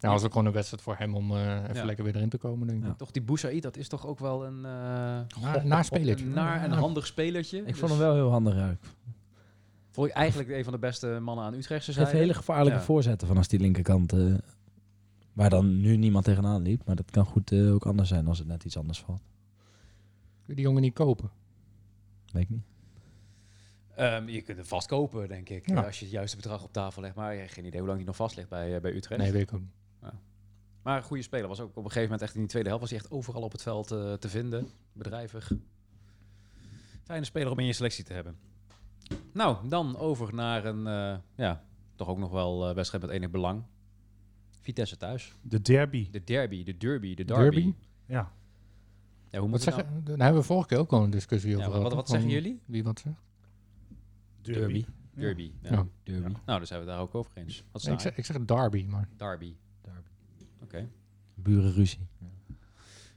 S3: Ja, was ook gewoon een wedstrijd voor hem om eh, even
S2: Ja.
S3: lekker weer erin te komen, denk ik.
S4: Ja.
S2: Toch die Boussaïd, dat is toch ook wel een, eh
S3: Na, na spelertje.
S2: een naar en
S3: Ja.
S2: handig spelertje.
S4: Ik vond hem wel heel handig. Ja. Ik
S2: Vond ik eigenlijk een van de beste mannen aan Utrechtse zijn.
S4: geeft hele gevaarlijke
S2: Ja.
S4: voorzetten vanaf die linkerkant. eh, waar dan nu niemand tegenaan liep. Maar dat kan goed eh, ook anders zijn als het net iets anders valt.
S3: Kun je die jongen niet kopen?
S4: Weet ik niet.
S2: Ehm, je kunt hem vast kopen, denk ik.
S3: Ja.
S2: eh, Als je het juiste bedrag op tafel legt. Maar ja, geen idee hoe lang die nog vast ligt bij, eh, bij Utrecht.
S3: Nee, weet ik ook niet.
S2: Maar een goede speler. Was ook op een gegeven moment echt in die tweede helft. Was hij echt overal op het veld eh, te vinden. Bedrijvig. Fijne speler om in je selectie te hebben. Nou, dan over naar een, eh, ja, toch ook nog wel eh, wedstrijd met enig belang. Vitesse thuis.
S5: de derby.
S2: De derby, de derby, de derby.
S3: Derby?
S5: Ja.
S2: Ja, hoe
S3: Wat
S2: moet het
S3: zeggen,
S2: nou?
S3: Daar hebben we vorige keer ook al een discussie over
S2: Ja, wat,
S3: gehad.
S2: wat, wat
S3: toch?
S2: zeggen
S3: Van
S2: jullie?
S3: Wie wat zegt?
S5: Derby. Ja.
S2: Derby. Ja.
S3: Ja.
S4: Derby.
S2: Nou, dus zijn we daar ook over eens. Wat
S3: Ik
S2: is
S3: zeg, ik zeg Derby, maar
S2: Derby.
S4: Derby.
S2: Oké.
S4: Burenruzie.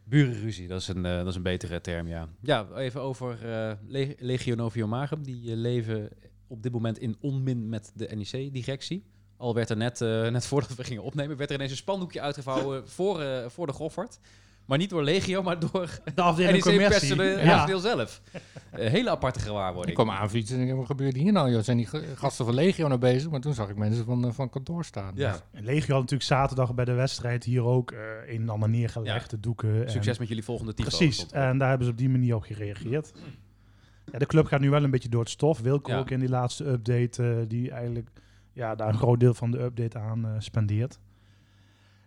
S2: Burenruzie, dat is, een, eh, dat is een betere term, ja. Ja, even over eh Le- Legio Novio Marum. Die eh, leven op dit moment in onmin met de NEC-directie. Al werd er net, eh, net [LAUGHS] voordat we gingen opnemen, werd er ineens een spandoekje
S5: [LAUGHS]
S2: uitgevouwen voor, eh, voor de Goffert. Maar niet door Legio, maar door
S5: De afdeling commercie.
S3: eh,
S2: NEC-personeel
S5: Ja.
S2: zelf. Een hele aparte gewaarwording.
S3: ik kwam aanfietsen en ik denk, wat gebeurt hier nou? Joh? Zijn die ge- gasten van Legio nou bezig? Maar toen zag ik mensen van, eh, van kantoor staan.
S2: Ja.
S3: Dus-
S5: En Legio had natuurlijk zaterdag bij de wedstrijd hier ook eh, een en ander neergelegd.
S2: Ja.
S5: De doeken. en-
S2: Succes met jullie volgende typo.
S5: Precies,
S2: stond er.
S5: en daar hebben ze op die manier op gereageerd. Ja, de club gaat nu wel een beetje door het stof. Wilco
S2: Ja.
S5: ook in die laatste update, eh, die eigenlijk ja, daar een groot deel van de update aan eh, spendeert.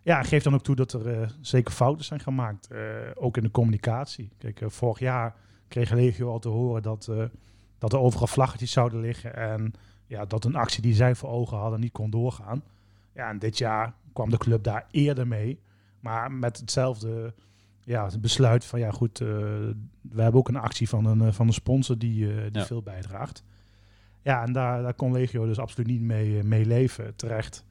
S5: Ja, en geeft dan ook toe dat er eh, zeker fouten zijn gemaakt, eh, ook in de communicatie. Kijk, eh, vorig jaar kreeg Legio al te horen dat, eh, dat er overal vlaggetjes zouden liggen en ja, dat een actie die zij voor ogen hadden niet kon doorgaan. Ja, en dit jaar kwam de club daar eerder mee, maar met hetzelfde ja, het besluit van ja goed, eh, we hebben ook een actie van een, eh, van een sponsor die, eh, die
S2: Ja.
S5: veel bijdraagt. Ja, en daar, daar kon Legio dus absoluut niet mee, eh, mee leven, terecht.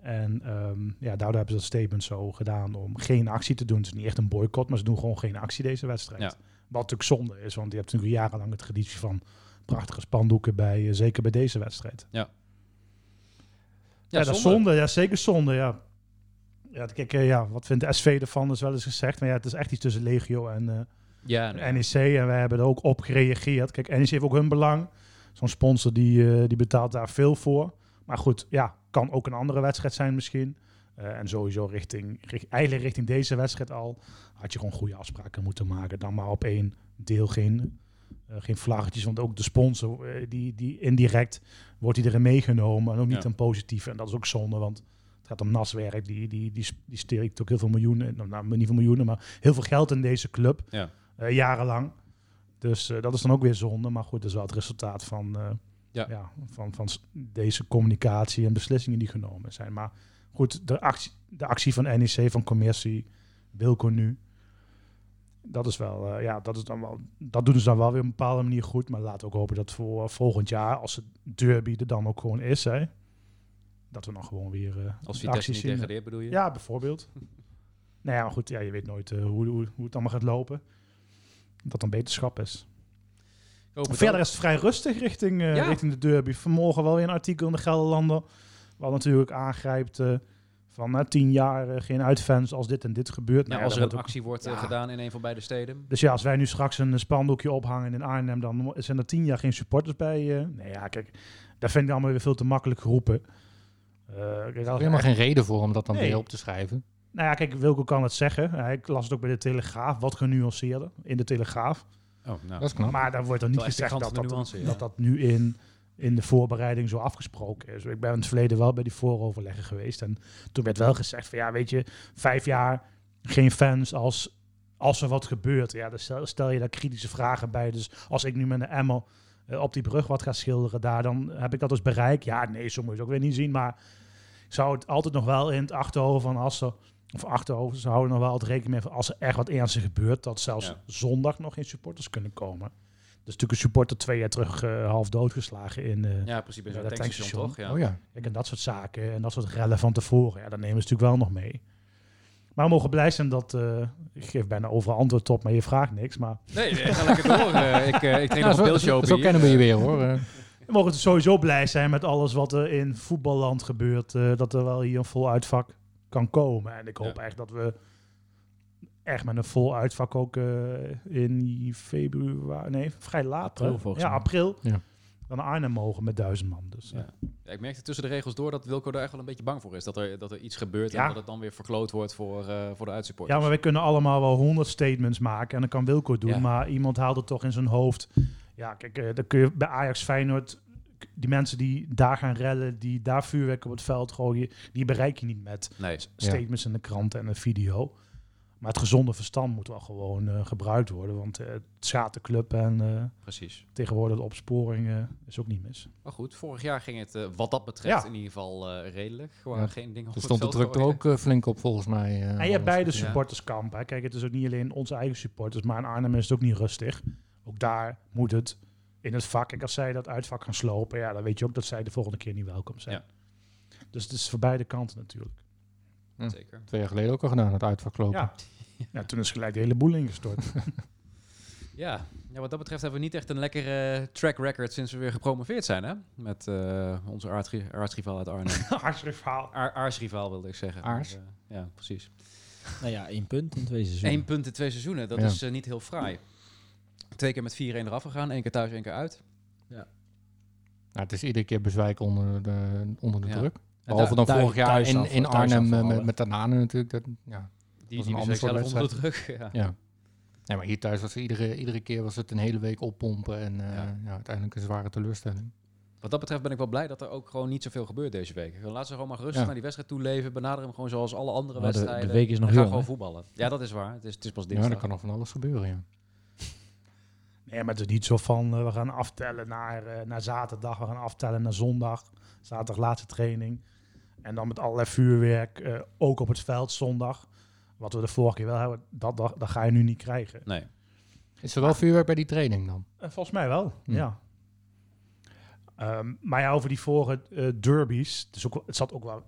S5: En ehm, ja, daardoor hebben ze dat statement zo gedaan om geen actie te doen. Het is niet echt een boycott, maar ze doen gewoon geen actie deze wedstrijd.
S2: Ja.
S5: Wat natuurlijk zonde is, want je hebt natuurlijk jarenlang de traditie van prachtige spandoeken bij, eh, zeker bij deze wedstrijd. Ja, dat is zonde. Ja, zeker zonde, ja. Ja, kijk, eh, ja, wat vindt de SV ervan? Dat is wel eens gezegd. Maar ja, het is echt iets tussen Legio en, eh,
S2: Ja, nou ja.
S5: NEC. E En wij hebben er ook op gereageerd. Kijk, NEC heeft ook hun belang. Zo'n sponsor die, eh, die betaalt daar veel voor. Maar goed, ja, kan ook een andere wedstrijd zijn misschien. Eh, en sowieso richting, richt- eigenlijk richting deze wedstrijd al, had je gewoon goede afspraken moeten maken. Dan maar op één deel geen, eh, geen vlaggetjes. Want ook de sponsor, eh, die, die indirect wordt iedereen meegenomen. En ook niet
S2: Ja.
S5: een positieve. En dat is ook zonde, want het gaat om naswerk. Die, die, die, die steekt ook heel veel miljoenen, nou, nou, niet veel miljoenen, maar heel veel geld in deze club.
S2: Ja.
S5: Eh, jarenlang. Dus eh, dat is dan ook weer zonde. Maar goed, dat is wel het resultaat van, eh,
S2: Ja.
S5: ja. van, van s- deze communicatie en beslissingen die genomen zijn. Maar goed, de actie, de actie van NEC, van commercie, Wilco nu. Dat is wel, eh, ja, dat is dan wel, dat doen ze dan wel weer op een bepaalde manier goed. Maar laten we ook hopen dat voor eh, volgend jaar, als het derby er dan ook gewoon is, hè, dat we dan gewoon weer eh,
S2: Als
S5: de
S2: Vitesse
S5: acties
S2: niet
S5: zien.
S2: degradeert, bedoel je?
S5: Ja,
S2: [LAUGHS]
S5: bijvoorbeeld. nou ja, maar goed, ja, je weet nooit eh, hoe, hoe, hoe het allemaal gaat lopen. Dat dan beterschap is.
S2: Ik hoop het
S5: Verder
S2: ook.
S5: is het vrij rustig richting, eh,
S2: Ja.
S5: richting de derby. Vanmorgen wel weer een artikel in de Gelderlander. Wat natuurlijk aangrijpt eh, van na tien jaar eh, geen uitfans als dit en dit gebeurt.
S2: Nou,
S5: ja,
S2: als
S5: dan
S2: er een
S5: wordt ook-
S2: actie wordt eh,
S5: Ja.
S2: gedaan in een van beide steden.
S5: Dus ja, als wij nu straks een eh, spandoekje ophangen in Arnhem, dan zijn er tien jaar geen supporters bij. eh. nee, ja, kijk, daar vind ik allemaal weer veel te makkelijk geroepen. Eh, kijk,
S3: Er is
S5: als-
S3: helemaal geen reden voor om dat dan
S5: Nee.
S3: weer op te schrijven.
S5: Nou ja, kijk, Wilco kan het zeggen. Hij las het ook bij de Telegraaf, wat genuanceerder in de Telegraaf.
S2: Oh, nou.
S3: Dat is knap.
S5: Maar daar wordt dan niet
S2: Wel echt
S5: gezegd dat
S2: pikante
S5: dat,
S2: nuance, ja.
S5: dat dat nu in, in de voorbereiding zo afgesproken is. Ik ben in het verleden wel bij die vooroverleggen geweest. En toen werd wel gezegd van ja, weet je, vijf jaar geen fans als, als er wat gebeurt. Ja, dan stel, stel je daar kritische vragen bij. Dus als ik nu met een emmer eh, op die brug wat ga schilderen daar, dan heb ik dat als bereik. Ja, nee, zo moet je het ook weer niet zien. Maar ik zou het altijd nog wel in het achterhoofd van als er... Of achterhoofd, ze houden nog wel het rekening mee van als er echt wat ernstig gebeurt, dat zelfs
S2: Ja.
S5: zondag nog geen supporters kunnen komen. Dus natuurlijk een supporter twee jaar terug eh, half doodgeslagen in, eh,
S2: Ja, in principe in
S5: Ja,
S2: zo'n
S5: dat
S2: tankstation,
S5: tankstation.
S2: toch? Ja.
S3: Oh ja.
S5: Kijk, en dat soort zaken en dat soort rellen van tevoren, ja, dat nemen ze natuurlijk wel nog mee. Maar we mogen blij zijn dat, eh, ik geef bijna overal antwoord op, maar je vraagt niks. Maar
S2: Nee, nee, ga lekker door. eh, ik, eh, ik drink
S3: Nou,
S2: nog een
S3: zo,
S2: pilsje
S3: zo,
S2: open
S3: zo
S2: hier.
S3: kennen we je weer
S2: [LAUGHS]
S3: hoor. Eh,
S5: we mogen sowieso blij zijn met alles wat er in voetballand gebeurt. eh, dat er wel hier een vol uitvak kan komen. En ik hoop
S2: Ja.
S5: echt dat we echt met een vol uitvak ook eh, in februari, nee, vrij laat.
S4: April,
S5: hè?
S4: volgens
S5: ja,
S4: mij.
S5: april.
S3: Ja.
S5: Dan naar Arnhem mogen met duizend man. Dus,
S2: Ja. Ja, ik merkte tussen de regels door dat Wilco daar echt wel een beetje bang voor is. Dat er, dat er iets gebeurt en
S5: Ja.
S2: dat het dan weer verkloot wordt voor, eh, voor de uitsupporters.
S5: Ja, maar wij kunnen allemaal wel honderd statements maken. En dat kan Wilco doen.
S2: Ja.
S5: Maar iemand haalt het toch in zijn hoofd. Ja, kijk, eh, dan kun je bij Ajax Feyenoord... k- Die mensen die daar gaan rellen, die daar vuurwerk op het veld gooien... die bereik je niet met
S2: Nee,
S5: s- statements in de krant en een video. Maar het gezonde verstand moet wel gewoon eh, gebruikt worden. Want eh, het schaadt de club en eh,
S2: precies.
S5: tegenwoordig de opsporing eh, is ook niet mis.
S2: Maar goed, vorig jaar ging het eh, wat dat betreft
S5: Ja.
S2: in ieder geval eh, redelijk. Gewoon
S3: Ja.
S2: geen ding op
S3: Er
S2: het
S3: stond de
S2: veld
S3: druk er
S2: gooien.
S3: ook eh, flink op volgens mij. eh,
S5: En je hebt
S3: Hans.
S5: beide
S2: Ja.
S5: supporterskampen. hè. Kijk, het is ook niet alleen onze eigen supporters, maar in Arnhem is het ook niet rustig. Ook daar moet het in het vak. Kijk, als zij dat uitvak gaan slopen, ja, dan weet je ook dat zij de volgende keer niet welkom zijn. Dus het is voor beide kanten natuurlijk.
S3: ook.
S2: Zeker.
S3: Twee jaar geleden ook al gedaan, het uitvak lopen.
S5: Ja. ja, toen is gelijk de hele boel ingestort.
S2: Ja. ja, wat dat betreft hebben we niet echt een lekkere eh, track record sinds we weer gepromoveerd zijn, hè? Met eh, onze aardri- aardsrivaal uit Arnhem.
S5: [LAUGHS] Hartstikke verhaal.
S2: Aar- Aarsrivaal wilde ik zeggen.
S3: Aars.
S2: Maar, eh, ja, precies.
S4: Nou ja, één punt in twee seizoenen.
S2: Eén punt in twee seizoenen, dat
S3: Ja.
S2: is eh, niet heel fraai. Twee keer met 4-1 eraf gegaan, één keer thuis, één keer uit.
S3: Nou, het is iedere keer bezwijk onder de, onder de
S2: Ja.
S3: druk.
S2: En
S3: Behalve dan
S4: thuis-
S3: vorig jaar
S4: thuis
S3: in,
S4: af-
S3: in
S4: thuis
S3: Arnhem eh,
S4: afvallen.
S3: met, met Tanane natuurlijk. Dat, ja.
S2: die,
S3: was
S2: die
S3: een
S2: bezweek zelf
S3: ander soort
S2: onder de druk. Ja.
S3: Ja. Nee, maar hier thuis was het iedere, iedere keer was het een hele week oppompen. En eh,
S2: Ja.
S3: ja. uiteindelijk een zware teleurstelling.
S2: Wat dat betreft ben ik wel blij dat er ook gewoon niet zoveel gebeurt deze week. Laat ze gewoon maar rustig
S3: Ja.
S2: naar die wedstrijd toe leven. Benader hem gewoon zoals alle andere
S4: Maar de- de
S2: wedstrijden.
S4: week is nog
S2: en ga
S4: jong,
S2: gewoon
S4: hè?
S2: voetballen. Ja, dat is waar. Het is, het is pas
S3: Ja,
S2: dinsdag.
S3: dan kan nog van alles gebeuren, ja.
S5: Nee, maar het is niet zo van eh, we gaan aftellen naar, eh, naar zaterdag, we gaan aftellen naar zondag. Zaterdag laatste training. En dan met allerlei vuurwerk, eh, ook op het veld zondag. Wat we de vorige keer wel hebben, dat, dat, dat ga je nu niet krijgen.
S2: Nee.
S3: Ah. Is er wel vuurwerk bij die training dan?
S5: Eh, volgens mij wel,
S3: Hm.
S5: ja. Hm. Ehm, maar ja, over die vorige eh, derbies. Dus ook, wel- het zat ook wel.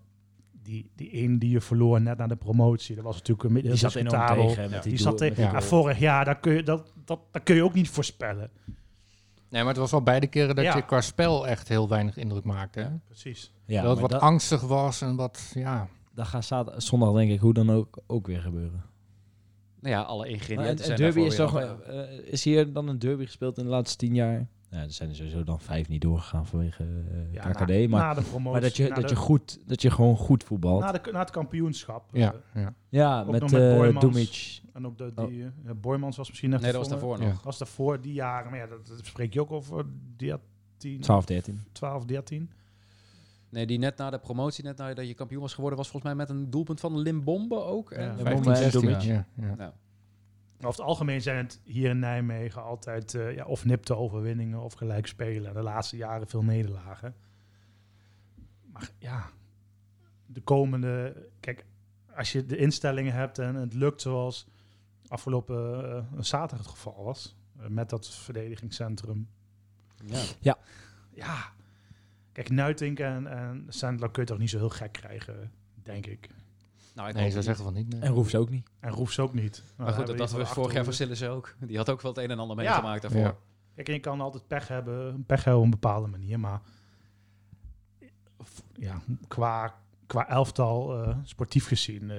S5: Die, die een die je verloor net na de promotie. Dat was natuurlijk een
S4: Die zat enorm tegen.
S2: Ja.
S4: Met
S5: Die
S4: doel-
S5: zat tegen.
S4: met die
S5: Ja,
S4: goal.
S5: vorig jaar, daar kun je, dat, dat, dat kun je ook niet voorspellen.
S3: Nee, maar het was wel beide keren dat
S5: Ja.
S3: je qua spel echt heel weinig indruk maakte. Hè?
S5: Precies.
S4: Ja,
S3: dat het
S4: maar
S3: wat
S4: dat,
S3: angstig was en wat, ja.
S4: dat gaat zaterdag, zondag denk ik hoe dan ook, ook weer gebeuren.
S2: Nou ja, alle
S4: Maar
S2: ingrediënten
S4: een,
S2: zijn
S4: derby
S2: daarvoor
S4: is
S2: weer
S4: toch...
S2: aan-
S4: eh, is hier dan een derby gespeeld in de laatste tien jaar? Ja, er zijn er sowieso dan vijf niet doorgegaan vanwege eh,
S5: Ja,
S4: KKD.
S5: na-
S4: maar
S5: na de promotie,
S4: maar dat, je,
S5: na
S4: dat,
S5: de-
S4: je goed, dat je gewoon goed voetbalt.
S5: na, de, na het kampioenschap. eh,
S3: ja, ja.
S4: ja,
S5: ook
S4: met,
S5: nog
S4: eh
S5: met Boymans.
S4: Doemic.
S5: En ook de, die, eh, Boymans was misschien net
S2: Nee, dat was
S5: gevonden.
S2: daarvoor
S3: Ja.
S2: nog.
S5: was daarvoor die jaren. Maar ja, dat, dat spreek je ook over 13,
S4: 12, 13.
S5: 12, 13.
S2: Nee, die net na de promotie, net nadat je kampioen was geworden, was volgens mij met een doelpunt van Limbombe ook. En
S5: Ja.
S2: vijftien,
S4: Limbombe en
S2: zestien.
S4: Doemic.
S3: ja, ja.
S2: Nou,
S5: Maar over het algemeen zijn het hier in Nijmegen altijd eh, ja, of nipte overwinningen of gelijk spelen. De laatste jaren veel nederlagen. Maar ja, de komende... Kijk, als je de instellingen hebt en het lukt zoals afgelopen eh, zaterdag het geval was... eh, met dat verdedigingscentrum
S2: ja.
S5: ja. Kijk, Nuitink en, en Sandler kun je toch niet zo heel gek krijgen, denk ik.
S2: Nou, ik hoop
S3: Nee, ik zou
S2: het
S3: zeggen van niet. nee.
S4: En Roefs ook niet.
S5: En Roefs ook niet. Nou,
S2: Maar goed,
S5: hebben
S2: dat,
S5: we
S2: dat
S5: hier
S2: was
S5: van
S2: vorig jaar van
S5: Achterhoede.
S2: Sillis ook. Die had ook wel het een en ander
S5: Ja.
S2: meegemaakt daarvoor.
S3: Ja.
S5: Kijk, en je kan altijd pech hebben, pech hebben op een bepaalde manier, maar ja, qua, qua elftal, eh, sportief gezien, eh,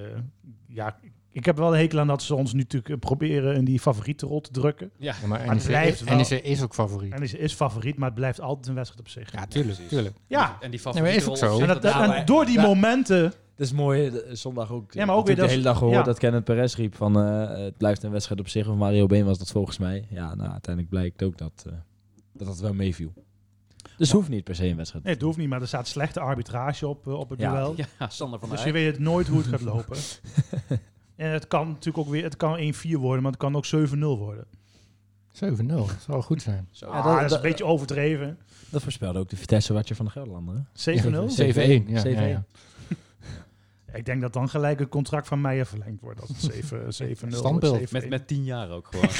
S5: ja, ik heb wel een hekel aan dat ze ons nu natuurlijk eh, proberen in die favoriete rol te drukken.
S3: Ja, maar
S5: het
S3: NEC,
S5: blijft wel-
S3: NEC is ook favoriet.
S5: En is, is favoriet, maar het blijft altijd een wedstrijd op zich.
S3: Ja, tuurlijk,
S2: precies.
S3: tuurlijk.
S5: Ja,
S2: En die
S3: Nee, maar
S2: favoriete
S3: is ook
S2: rol
S3: zo.
S2: op zich,
S5: en, dat,
S2: dat-
S5: en
S4: maar-
S5: door die
S4: Ja.
S5: momenten,
S4: Dat is mooi, eh, zondag ook.
S5: Ja, maar ook weer
S4: natuurlijk de
S5: dat-
S4: hele dag gehoord
S5: ja.
S4: dat Kenneth Perez riep van eh, het blijft een wedstrijd op zich. Of Mario Been was dat volgens mij. Ja, nou uiteindelijk blijkt ook dat eh, dat, dat wel meeviel. Dus het hoeft niet per se een wedstrijd.
S5: nee, het hoeft niet, maar er staat slechte arbitrage op, eh, op het
S4: Ja.
S5: duel.
S2: [LAUGHS] Ja, Sander van der
S5: Dus
S2: Eyck.
S5: je weet het nooit hoe het gaat lopen. en het kan natuurlijk ook weer, het kan 1-4 worden, maar het kan ook 7-0 worden.
S3: 7-0, dat zou goed zijn.
S2: Zo.
S4: dat-
S5: Ah, dat, is een
S4: dat-
S5: beetje overdreven. 7-0?
S4: Dat voorspelde ook de Vitesse watje van de Gelderlander. hè?
S3: 7-1, ja,
S4: 7-1.
S3: ja, ja.
S5: Ik denk dat dan gelijk het contract van Meijer verlengd wordt. Als het
S3: [LAUGHS]
S5: 7, 7
S3: Standbeeld.
S2: Met, met tien jaar ook
S5: [LAUGHS]
S2: gewoon.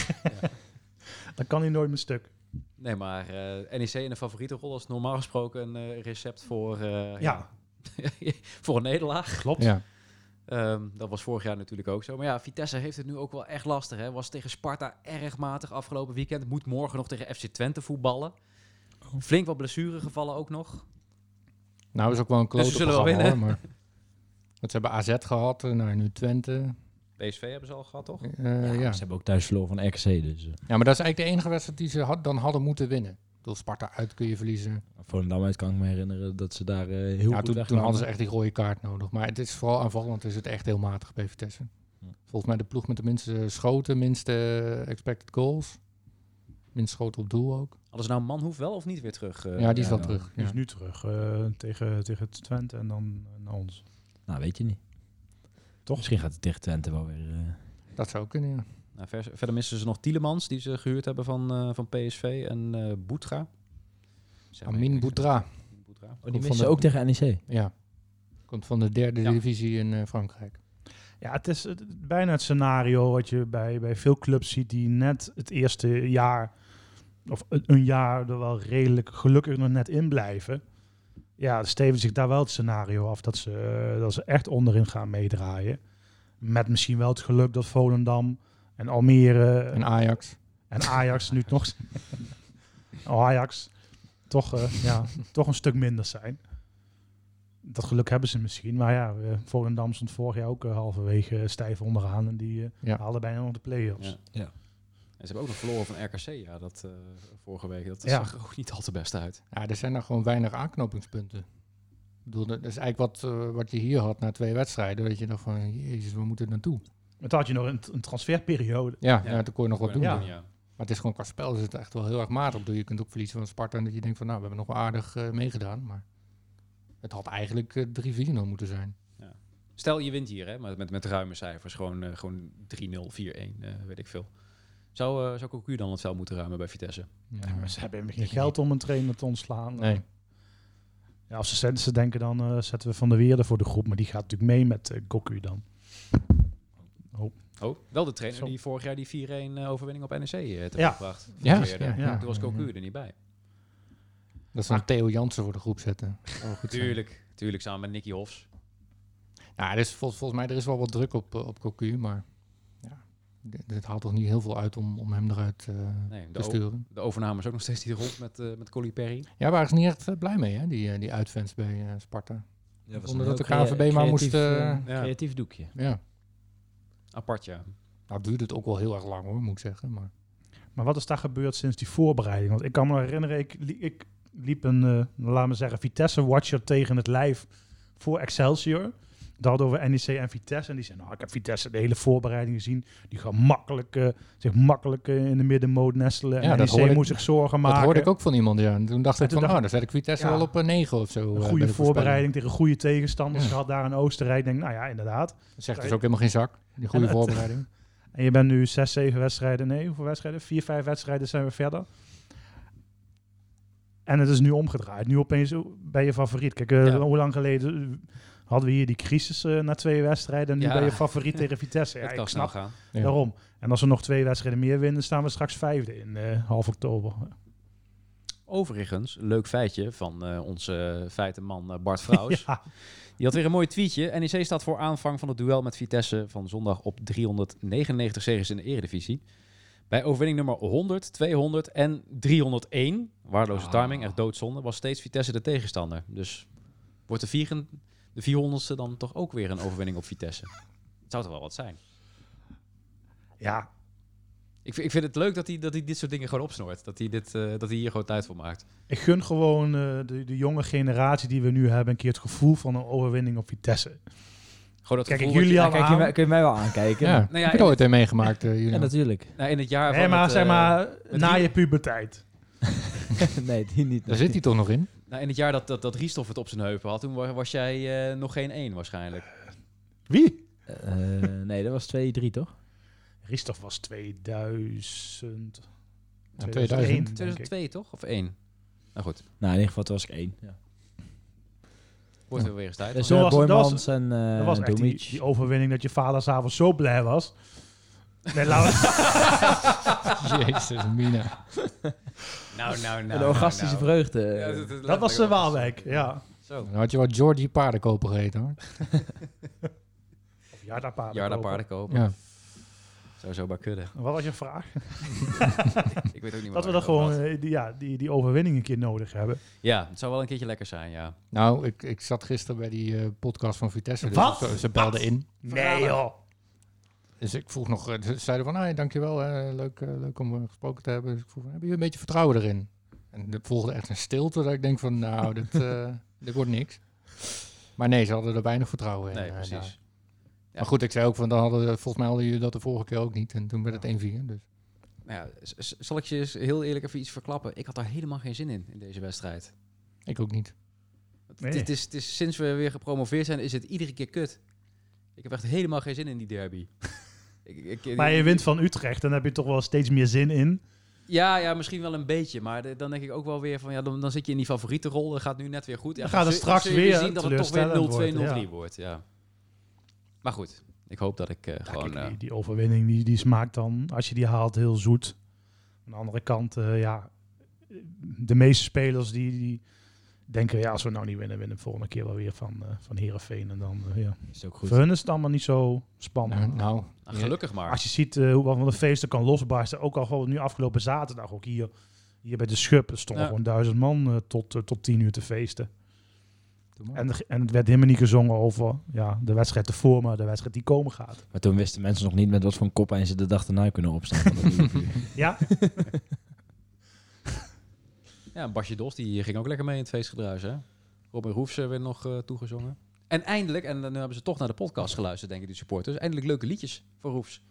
S5: Dan kan hij nooit meer stuk.
S2: nee, maar eh, NEC in de favoriete rol is normaal gesproken een eh, recept voor, eh,
S5: Ja,
S2: [LAUGHS] voor een nederlaag.
S5: klopt.
S3: Ja.
S2: Ehm, dat was vorig jaar natuurlijk ook zo. Maar ja, Vitesse heeft het nu ook wel echt lastig. Hè? Was tegen Sparta erg matig afgelopen weekend. Moet morgen nog tegen FC Twente voetballen.
S5: Oh.
S2: Flink wat blessuregevallen ook nog.
S3: Nou, is ook wel een klote
S2: Dus ze zullen wel
S3: programma,
S2: winnen.
S3: hoor, maar... Want ze hebben AZ gehad, eh, nou, nu Twente.
S2: PSV hebben ze al gehad, toch?
S3: Eh, ja.
S4: Ze hebben ook thuis verloren van RKC. Dus eh,
S3: ja, maar dat is eigenlijk de enige wedstrijd die ze had, dan hadden moeten winnen. Ik bedoel, Sparta uit kun je verliezen.
S4: Volendam uit kan ik me herinneren dat ze daar eh, heel
S3: Ja,
S4: goed
S3: toen, toen
S4: wegkwamen.
S3: hadden ze echt die rode kaart nodig. Maar het is vooral aanvallend, is het echt heel matig bij Vitesse.
S4: Ja.
S3: Volgens mij de ploeg met de minste schoten, minste eh, expected goals. Minst schoten op doel ook.
S2: Hadden ze nou Manhoef wel of niet weer terug? eh?
S3: ja, die is
S4: ja,
S3: wel
S4: ja.
S3: terug.
S5: Die
S3: Ja.
S5: is nu terug eh, tegen, tegen het Twente en dan eh, naar ons.
S4: Nou, weet je niet. Toch? Misschien gaat het tegen Twente wel weer... eh,
S3: Dat zou kunnen, ja.
S2: Nou, vers- verder missen ze nog Tielemans, die ze gehuurd hebben van, eh, van PSV. En eh Boetra. Zeg maar
S3: Amin
S2: niks.
S3: Boutra,
S2: Amin Boetra.
S4: Oh, die
S3: Komt
S4: missen
S3: van de-
S4: ook tegen NEC.
S3: ja. Komt van de derde
S2: Ja.
S3: divisie in eh, Frankrijk.
S5: Ja, het is eh, bijna het scenario wat je bij, bij veel clubs ziet die net het eerste jaar of een- een jaar er wel redelijk gelukkig nog net in blijven. Ja, steven zich daar wel het scenario af dat ze, eh, dat ze echt onderin gaan meedraaien. Met misschien wel het geluk dat Volendam en Almere eh,
S3: En
S2: Eh.
S5: en,
S3: Ajax.
S5: Ajax nu nog... Oh, Ajax toch, eh, ja, toch een stuk minder zijn. Dat geluk hebben ze misschien. Maar ja, eh, Volendam stond vorig jaar ook eh, halverwege eh, stijf onderaan. En die eh
S3: Ja.
S5: haalden bijna nog de play-offs.
S2: Ja. En ze hebben ook nog verloren van RKC, ja, dat eh, vorige week. Dat
S5: Ja.
S2: zag er ook niet al te best uit.
S3: Ja, er zijn er gewoon weinig aanknopingspunten. Ik bedoel, dat is eigenlijk wat, eh, wat je hier had na twee wedstrijden. Dat je dacht van, jezus, we moeten naartoe.
S5: Maar toen had je nog een, een transferperiode.
S3: Ja,
S2: Ja.
S3: ja. toen kon je nog wat doen.
S5: Ja.
S3: Maar het is gewoon qua spel is het echt wel heel erg matig. Ik bedoel, je kunt ook verliezen van Sparta en dat je denkt van, nou, we hebben nog wel aardig eh, meegedaan. Maar het had eigenlijk eh, 3-4-0 moeten zijn.
S2: Stel, je wint hier, hè, met, met, met ruime cijfers. Gewoon, eh, gewoon 3-0, 4-1, eh, weet ik veel. Zou, eh zou Cocu dan het veld moeten ruimen bij Vitesse?
S5: Ja, maar ze hebben geen
S3: Ik
S5: geld om een trainer te ontslaan.
S3: Nee.
S5: Ja, als ze, ze denken dan eh, zetten we Van der Weerde voor de groep. Maar die gaat natuurlijk mee met eh Goku dan.
S2: Oh, wel de trainer
S5: Zo.
S2: die vorig jaar die 4-1 eh, overwinning op NEC eh, heeft
S5: Ja.
S2: gebracht.
S3: Ja,
S2: Toen
S3: ja, ja.
S2: was Cocu
S3: Ja,
S2: er niet bij.
S3: Dat ze dan Theo Jansen voor de groep zetten. Dat
S2: Oh,
S3: zou wel goed zijn.
S2: Tuurlijk, tuurlijk, samen met Nicky Hofs.
S3: Ja, dus vol- volgens mij er is wel wat druk op, eh, op Cocu, maar ja, dit, dit haalt toch niet heel veel uit om, om hem eruit eh,
S2: Nee, Dus de,
S3: te
S2: o-
S3: sturen.
S2: de overname is ook nog steeds die rond met, eh met Colly Perry.
S3: Ja, waren ze niet echt eh, blij mee, hè, die, eh, die uitfans bij eh, Sparta.
S4: Ja,
S3: was Zonder een dat de heel crea- KNVB maar moest, creatief,
S2: eh, ja.
S4: Creatief doekje.
S3: Ja,
S2: Apart, ja.
S3: nou duurde het ook wel heel erg lang hoor, moet ik zeggen. Maar
S5: Maar wat is daar gebeurd sinds die voorbereiding? Want ik kan me herinneren, ik, li- ik liep een, eh laat me zeggen, Vitesse-watcher tegen het lijf voor Excelsior. Dat hadden we over NEC en Vitesse. En die zei, nou, ik heb Vitesse de hele voorbereiding gezien. Die gaan makkelijk, eh, zich makkelijk eh, in de middenmoot nestelen.
S3: Ja,
S5: en
S3: dat
S5: NEC
S3: hoorde ik-
S5: moet zich zorgen maken.
S3: dat hoorde ik ook van iemand, ja. En toen dacht
S5: En
S3: ik
S5: toen
S3: van,
S5: dacht
S3: oh, dan zet ik Vitesse
S5: ja,
S3: wel op 9 of zo. eh,
S5: Een
S3: bij de
S5: goede
S3: voorspelling.
S5: voorbereiding tegen goede tegenstanders
S3: Ja.
S5: gehad daar in Oostenrijk. Ik denk, nou ja, inderdaad.
S3: Dat zegt dus ook helemaal geen zak, die goede
S5: En het- [LAUGHS]
S3: voorbereiding.
S5: En je bent nu zes, zeven wedstrijden, nee, hoeveel wedstrijden? Vier, vijf wedstrijden zijn we verder. En het is nu omgedraaid. Nu opeens ben je favoriet. Kijk, eh,
S2: Ja.
S5: hoe lang geleden eh, hadden we hier die crisis eh, na twee wedstrijden. En nu
S2: Ja.
S5: ben je favoriet
S2: [LAUGHS]
S5: tegen Vitesse. Ja,
S2: het
S5: ik
S2: kan snel
S5: snap
S2: gaan.
S3: Ja.
S5: daarom. En als we nog twee wedstrijden meer winnen, staan we straks vijfde in eh, half oktober. [LAUGHS]
S2: Overigens, leuk feitje van eh, onze feitenman eh, Bart Vrouws.
S5: [LAUGHS] Ja,
S2: Die had weer een mooi tweetje. NEC staat voor aanvang van het duel met Vitesse van zondag op 399 zegens in de Eredivisie. Bij overwinning nummer 100, 200 en 301, waardeloze
S5: Ah.
S2: timing, echt doodzonde, was steeds Vitesse de tegenstander. Dus wordt de, vieren, de 400ste dan toch ook weer een overwinning op Vitesse? Het zou toch wel wat zijn?
S5: ja
S2: Ik, vind- ik vind het leuk dat hij, dat hij dit soort dingen gewoon opsnoort. Dat hij, dit, eh, dat hij hier gewoon tijd voor maakt.
S5: Ik gun gewoon eh, de, de jonge generatie die we nu hebben een keer het gevoel van een overwinning op Vitesse.
S2: Gewoon dat gevoel
S5: Kijk, ik
S2: wat je-
S5: jullie
S4: Ja,
S5: Ja,
S4: kijk,
S5: maar-
S4: je, mij- kun je mij wel aankijken.
S3: Nou Ja,
S2: ja,
S3: heb je er ooit een meegemaakt, eh, Julian?
S4: Ja, natuurlijk.
S2: nou, in het jaar
S5: Nee,
S2: van
S5: maar
S2: het,
S5: zeg
S2: eh,
S5: maar, na
S2: drie-
S5: je puberteit.
S4: [LAUGHS] nee, die niet.
S3: Daar zit hij toch nog
S5: [LAUGHS]
S3: in?
S2: nou, in het jaar dat, dat, dat Riesthoff het op zijn heupen had, toen wa- was jij eh, nog geen één waarschijnlijk.
S5: Wie?
S4: Eh, nee, dat was 2-3, toch?
S5: Ristoff was 2000.
S3: Ja,
S5: 2001.
S3: 2000.
S5: denk ik.
S2: 2002 toch? Of 1? Nou goed,
S4: Nou, in ieder geval, toen was ik één. Ja.
S2: wordt weer eens tijd.
S4: Dus
S5: Zo
S4: eh,
S5: was- dat
S4: Boymans en eh
S5: Dat was echt die,
S4: Doemic.
S5: die overwinning dat je vader s'avonds zo blij was. Nee, laten we-
S3: Jezus, Mina.
S2: Nou, nou, nou.
S4: Een orgastische vreugde.
S5: dat was de Waalwijk, ja.
S2: Zo.
S3: Dan had je wat Georgie Paardenkoper geheten hoor.
S5: Of Jarda Paarden.
S2: Jaar daar
S5: kopen.
S2: paarden kopen.
S3: Ja.
S2: Sowieso bij
S5: [LAUGHS]
S2: kudde.
S5: Wat was je vraag?
S2: Ik weet ook niet waar
S5: Dat we dan
S2: ik het over
S5: gewoon
S2: had.
S5: eh, die, ja, die, die overwinning een keer nodig hebben.
S2: Ja, het zou wel een keertje lekker zijn, ja.
S3: Nou, ik, ik zat gisteren bij die eh, podcast van Vitesse. Dus
S5: Wat?
S3: Ze, ze belden in.
S5: Nee joh.
S3: Dus ik vroeg nog, eh, ze zeiden van, hey, dankjewel, eh, leuk, eh, leuk om eh, gesproken te hebben. Dus ik vroeg, hebben jullie een beetje vertrouwen erin? En er volgde echt een stilte dat ik denk
S2: [LAUGHS]
S3: van, nou, dit, eh, dit wordt niks. Maar nee, ze hadden er weinig vertrouwen in.
S2: Nee,
S3: eh, daar.
S2: precies.
S3: Maar goed, ik zei ook van, dan hadden, volgens mij hadden jullie dat de vorige keer ook niet. En toen werd het 1-4. Dus.
S2: Nou ja, z- z- zal ik je eens heel eerlijk even iets verklappen? Ik had daar helemaal geen zin in, in deze wedstrijd.
S3: Ik ook niet.
S2: Het-
S5: Nee.
S2: Het is, het is, sinds we weer gepromoveerd zijn, is het iedere keer kut. Ik heb echt helemaal geen zin in die derby. [LAUGHS] ik, ik-
S5: Maar je wint van Utrecht, dan heb je toch wel steeds meer zin in.
S2: Ja, ja, misschien wel een beetje. Maar de- dan denk ik ook wel weer van ja, dan, dan zit je in die favoriete rol. Dat gaat nu net weer goed. Ja,
S5: Dan gaat het
S2: zul-
S5: straks
S2: zul je
S5: weer
S2: zien dat het toch weer 0-2, 0-3
S5: teleurstellend worden,
S2: wordt.
S5: ja.
S2: ja. Maar goed, ik hoop dat ik eh, gewoon.
S5: Kijk,
S2: eh,
S5: die, die overwinning die, die smaakt dan, als je die haalt, heel zoet. Aan de andere kant, eh, ja, de meeste spelers die, die denken, ja, als we nou niet winnen, winnen we volgende keer wel weer van, eh van Herenveen. En dan, eh, ja.
S4: Is ook goed.
S5: Voor hun is het allemaal niet zo spannend.
S3: Nou, nou,
S2: nou, gelukkig maar.
S5: Als je ziet eh, hoe wat van de feesten kan losbarsten, ook al gewoon nu afgelopen zaterdag, ook hier, hier bij de Schub, er stonden
S2: Ja.
S5: gewoon duizend man eh, tot, eh, tot tien uur te feesten.
S3: doe maar.
S5: En, er- en het werd helemaal niet gezongen over ja, de wedstrijd ervoor, maar de wedstrijd die komen gaat.
S4: Maar toen wisten mensen nog niet met wat voor een kop ze de dag erna kunnen opstaan.
S5: [LAUGHS]
S4: van dat nieuwe vuur.
S5: Ja,
S2: Ja, Basje Dos die ging ook lekker mee in het feestgedruis. Hè? Robin Roefs eh, werd nog eh, toegezongen. En eindelijk, en dan hebben ze toch naar de podcast geluisterd, denk ik, die supporters. Eindelijk leuke liedjes voor Roefs.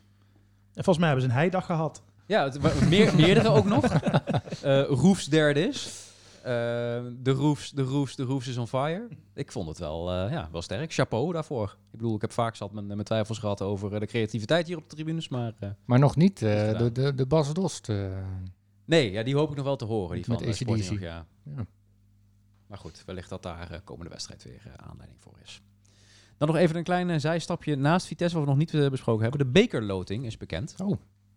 S5: en volgens mij hebben ze een heidag gehad.
S2: Ja, het, wa- meer, meerdere ook nog. Eh Roefs derde is. Eh, de Roefs, de Roefs, de Roefs is on fire. Ik vond het wel, eh, ja, wel sterk. Chapeau daarvoor. Ik bedoel, ik heb vaak zat mijn, mijn twijfels gehad over eh, de creativiteit hier op de tribunes. Maar eh,
S3: Maar nog niet eh,
S2: Goed gedaan.
S3: de, de, de Bas Dost. eh,
S2: nee, ja, die hoop ik nog wel te horen. Die
S3: Met
S2: van eh, Sporting
S3: AC/DC.
S2: nog, ja.
S3: Ja.
S2: Maar goed, wellicht dat daar eh, komende wedstrijd weer eh, aanleiding voor is. Dan nog even een klein eh, zijstapje naast Vitesse, wat we nog niet eh, besproken hebben. De bekerloting is bekend.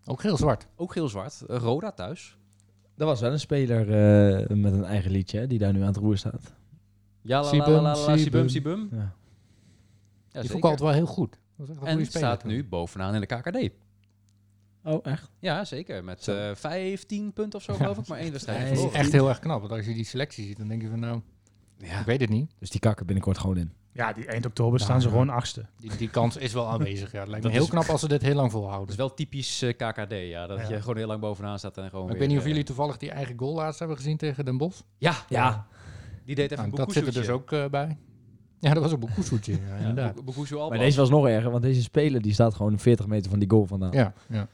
S3: ook heel zwart.
S2: Ook geel-zwart. Eh, Roda thuis.
S4: Er was wel een speler eh, met een eigen liedje hè, die daar nu aan het roer staat.
S2: Ja, la, la,
S3: Sibum,
S2: la, la, la, sibum,
S3: sibum.
S2: sibum.
S4: Ja.
S2: Ja,
S3: die
S2: zeker.
S3: vond ik altijd wel heel goed. Dat was echt een
S2: En
S3: goede speler
S2: staat
S3: toen.
S2: nu bovenaan in de KKD.
S4: Oh, echt?
S2: Ja, zeker. Met
S4: Zo.
S2: eh 15 punten of zo,
S3: Ja.
S2: geloof ik. Maar één wedstrijd
S4: Nee.
S3: Dat is
S2: verloren.
S3: echt heel erg knap. Want als je die selectie ziet, dan denk je van nou,
S2: Ja.
S3: ik weet het niet.
S4: Dus die kakken binnenkort gewoon in.
S5: Ja, die eind oktober
S3: Ja,
S5: staan ze
S3: ja.
S5: gewoon achtste.
S3: Die, die kans is wel aanwezig. Ja. Het lijkt me
S2: Dat
S3: heel
S2: is-
S3: knap als ze dit heel lang
S2: Dat
S3: volhouden.
S2: is wel typisch eh, KKD, ja. Dat
S5: Ja.
S2: je gewoon heel lang bovenaan staat en gewoon
S3: Maar
S2: weer,
S3: ik weet niet of
S2: eh,
S3: jullie toevallig die eigen goal laatst hebben gezien tegen Den Bosch.
S2: Ja,
S4: Ja.
S2: die deed even
S3: Nou,
S2: een
S3: dat zit er dus
S2: boekhoezoetje.
S3: ook eh, bij. Ja, dat was een boekhoesoetje, ja,
S2: Ja,
S3: inderdaad.
S2: boek- boekhoezoe
S4: Maar
S2: Albas.
S4: deze was nog erger, want deze speler die staat gewoon 40 meter van die goal vandaan.
S3: Ja, ja.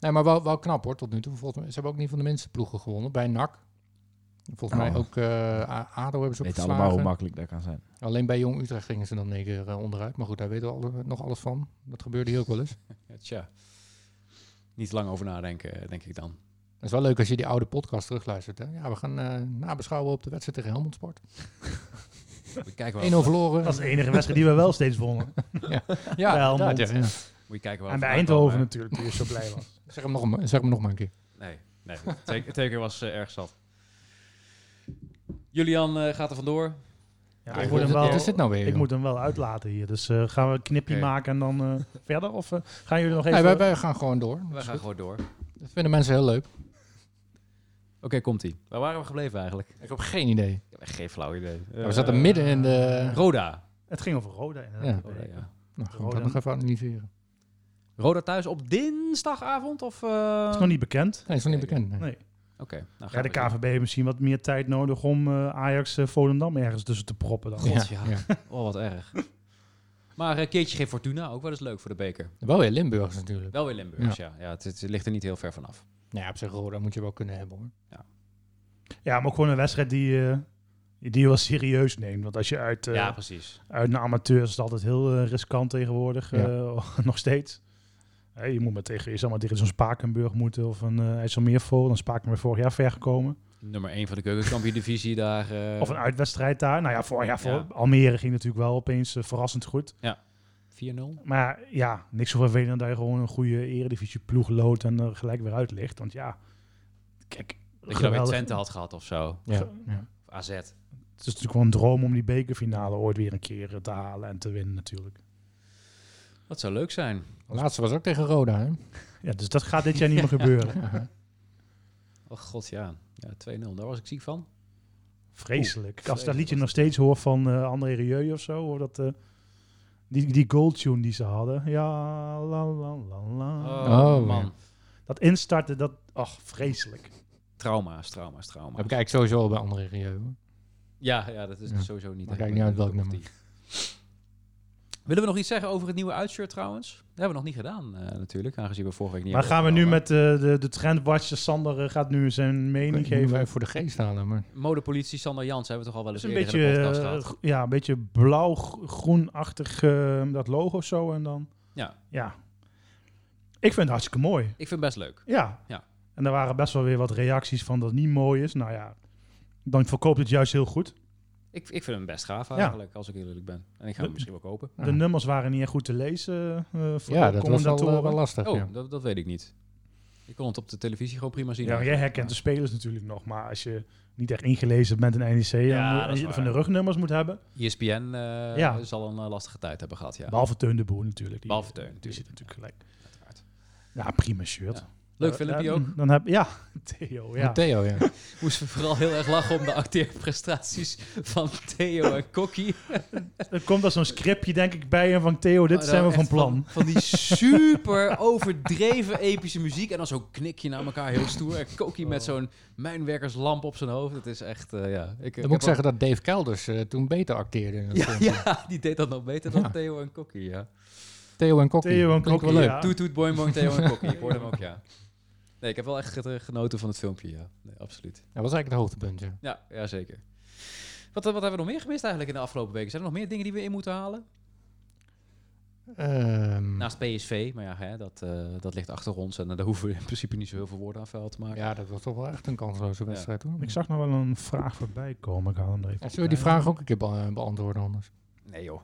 S3: Nee, maar wel, wel knap hoor, tot nu toe. Volgens mij, ze hebben ook niet van de minste ploegen gewonnen. Bij NAC. Volgens mij
S4: Oh.
S3: ook eh, A- ADO hebben ze
S4: We
S3: ook
S4: weten allemaal hoe
S3: verslagen.
S4: makkelijk dat kan zijn.
S3: Alleen bij Jong Utrecht gingen ze dan een keer eh, onderuit. Maar goed, daar weten we alle- nog alles van. Dat gebeurde hier ook wel eens.
S2: Ja, tja. Niet lang over nadenken, eh, denk ik dan.
S3: Dat is wel leuk als je die oude podcast terugluistert. Hè? Ja, we gaan eh, nabeschouwen op de wedstrijd tegen Helmond Sport. 1-0
S2: We kijken wel,
S3: verloren.
S5: Dat is de enige wedstrijd die we wel steeds
S3: [LAUGHS]
S5: wonnen.
S3: ja,
S5: bij
S3: inderdaad,
S5: Helmond.
S3: ja, ja.
S2: moet je kijken waar
S5: En
S2: we vandaan komen,
S5: bij Eindhoven
S2: hè.
S5: natuurlijk, die je zo blij was.
S3: Zeg, hem nog een, zeg hem nog maar een keer.
S2: Nee, nee. Het teken- het teken was eh, erg zat. Julian eh, gaat er vandoor.
S5: Ja,
S3: Ja,
S5: ik
S3: wat
S5: moet
S3: is-
S5: hem wel,
S3: wat is dit nou weer?
S5: ik moet hem wel uitlaten hier. Dus eh, gaan we een knipje
S2: Oké.
S5: maken en dan eh, verder? Of eh, gaan jullie nog
S3: joh?
S5: even...
S3: Nee, wij, wij gaan gewoon door.
S2: We gaan gewoon door. Oké,
S3: Dat vinden mensen heel leuk.
S2: komt-ie. Waar waren we gebleven eigenlijk?
S3: Ik heb geen idee.
S2: Ik heb echt geen flauw idee. Eh,
S3: we zaten midden in de...
S2: Roda.
S5: Het ging over Roda.
S3: Ja.
S5: inderdaad.
S2: Roda, ja.
S3: Nou, gaan we
S5: Roda.
S3: dat nog even analyseren.
S2: Roda thuis op dinsdagavond? Of, eh,
S5: Dat is nog niet bekend.
S3: Nee, is nog niet bekend. nee.
S5: Nee.
S2: Oké. nou
S5: Ja,
S2: gaan
S5: de
S2: we door.
S5: KVB heeft misschien wat meer tijd nodig om eh, Ajax eh, Volendam ergens tussen te proppen. Dan.
S2: God, ja. Oh, wat erg. [LAUGHS] Maar een keertje geen Fortuna, ook wel eens leuk voor de beker.
S3: Wel weer Limburgers natuurlijk.
S2: Wel weer Limburgs, ja. ja. het, het ligt er niet heel ver vanaf.
S3: Nou ja, op zich Roda moet je wel kunnen hebben hoor.
S5: Ja, maar ook gewoon een wedstrijd die, eh, die je wel serieus neemt. Want als je uit, eh,
S2: ja, precies.
S5: uit naar amateur is het altijd heel eh, riskant tegenwoordig.
S3: Ja.
S5: eh, [LAUGHS] nog steeds. Hé, je moet maar tegen, je zal maar tegen zo'n Spakenburg moeten of een uh, IJsselmeervol. Dan Spakenburg vorig jaar ver gekomen.
S2: Nummer 1 van de keukenkampioen-divisie daar. eh,
S5: Of een uitwedstrijd daar. Nou ja, vorig jaar voor
S2: Ja.
S5: Almere ging natuurlijk wel opeens eh, verrassend goed.
S2: 4-0.
S5: Maar ja, niks zo vervelend dat je gewoon een goede eredivisie ploeg loodt en er gelijk weer uit ligt. Want ja, kijk,
S2: Dat je dan weer
S5: geweldig.
S2: Twente had gehad of zo.
S3: Ja.
S2: Of AZ.
S5: Het is natuurlijk wel een droom om die bekerfinale ooit weer een keer eh, te halen en te winnen natuurlijk.
S2: Dat zou leuk zijn.
S3: De laatste was ook tegen Roda hè.
S5: Ja, dus dat gaat dit jaar niet meer gebeuren.
S2: Oh god, ja. ja 2-0, daar was ik ziek van.
S5: Vreselijk. Als ik dat
S2: vreselijk
S5: liedje
S2: was
S5: nog steeds hoor van eh André Rieu of zo, hoor dat... eh, die, die goaltune die ze hadden. Ja, la la la la.
S2: Oh,
S3: Oh,
S2: man.
S3: ja.
S5: Dat instarten, dat... Ach, vreselijk.
S2: Trauma's, trauma's, trauma's.
S3: Dat kijk ik sowieso al bij andere Rieu. hoor.
S2: Ja, ja, dat is
S3: Ja.
S2: sowieso niet.
S3: Maar
S2: echt
S3: kijk niet uit
S2: mijn
S3: welk
S2: cup of
S3: nummer.
S2: tea. Willen we nog iets zeggen over het nieuwe uitshirt trouwens? Dat hebben we nog niet gedaan eh, natuurlijk, aangezien we vorige week niet
S5: maar
S2: hebben
S5: gaan we nu
S2: opgenomen.
S5: met eh, de, de trendwatcher Sander eh, gaat nu zijn
S3: Ik
S5: mening
S3: moet
S5: geven.
S3: even voor de geest halen. Maar
S2: Modepolitie Sander Jans hebben we toch al wel
S5: Het
S2: eens
S5: is een
S2: eerder in
S5: beetje,
S2: de podcast
S5: eh,
S2: gehad.
S5: gro- ja, een beetje blauw-groenachtig eh, dat logo zo en dan.
S2: Ja.
S5: ja. Ik vind het hartstikke mooi.
S2: Ik vind het best leuk.
S5: Ja.
S2: Ja.
S5: En er waren best wel weer wat reacties van dat het niet mooi is. Nou ja, dan verkoopt het juist heel goed.
S2: Ik, ik vind hem best gaaf eigenlijk, als ik heel eerlijk ben. En ik ga hem
S5: De-
S2: misschien wel kopen.
S5: De
S3: Ja.
S5: nummers waren niet echt goed te lezen eh voor
S3: Mhm.
S5: de
S3: ja, dat was wel,
S5: commentatoren.
S3: eh, wel lastig.
S2: Oh,
S3: ja.
S2: dat, dat weet ik niet. Ik kon het op de televisie gewoon prima zien.
S5: ja, maar jij herkent de spelers natuurlijk nog. Maar als je niet echt ingelezen bent in E NEC
S2: Ja,
S5: en,
S2: dat is
S5: je
S2: waar.
S5: van de rugnummers moet hebben.
S2: ESPN eh,
S5: Ja.
S2: zal een eh, lastige tijd hebben gehad, ja.
S5: Behalve Teun de Boer natuurlijk. Die,
S2: Behalve Teun,
S5: Die
S2: natuurlijk.
S5: zit natuurlijk gelijk.
S2: Uiteraard.
S5: Ja, prima shirt.
S2: Ja. Leuk filmpje
S5: Eh,
S2: ook.
S5: Dan, dan heb, ja, [LAUGHS] Theo. Ja.
S3: Met Theo, ja.
S2: Moesten we vooral heel erg lachen om de acteerprestaties van Theo en Kokkie.
S5: Er komt als zo'n scriptje, denk ik, bij en van Theo, dit
S2: Maar
S5: zijn
S2: dan
S5: we van
S2: Oh, nou, echt
S5: plan.
S2: Van, die super overdreven epische muziek. En dan zo'n knikje naar elkaar, heel stoer. En Koki
S3: Oh.
S2: met zo'n mijnwerkerslamp op zijn hoofd. Het is echt, eh, ja. Ik,
S3: Dan moet ik zeggen dat Dave Kelders eh, toen beter acteerde. In dat
S2: Ja,
S3: filmpje.
S2: ja, die deed dat nog beter dan
S3: Ja.
S2: Theo en Kokkie, ja.
S3: Theo en Kokkie.
S5: Theo en
S3: Klinkt wel
S5: Kokkie,
S3: leuk.
S5: ja.
S2: Toet, toet, boing, boing, Theo en Kokkie. Ik hoorde hem ook, ja. Nee, ik heb wel echt eh, genoten van het filmpje, ja. Nee, absoluut.
S3: Dat was eigenlijk het hoogtepunt, ja.
S2: Ja, ja zeker. Wat, wat hebben we nog meer gemist eigenlijk in de afgelopen weken? Zijn er nog meer dingen die we in moeten halen?
S3: Ehm,
S2: Naast PSV, maar ja, hè, dat, eh, dat ligt achter ons. En eh, daar hoeven we in principe niet zo heel veel woorden aan vuil te maken.
S3: ja, dat was toch wel echt een kansloze wedstrijd, hoor.
S5: Ik zag nog wel een vraag voorbij komen. Ik haal hem er even
S3: Ja, zullen we die
S5: bij.
S3: vraag ook een keer be- beantwoorden anders? [LAUGHS]
S2: Nee joh.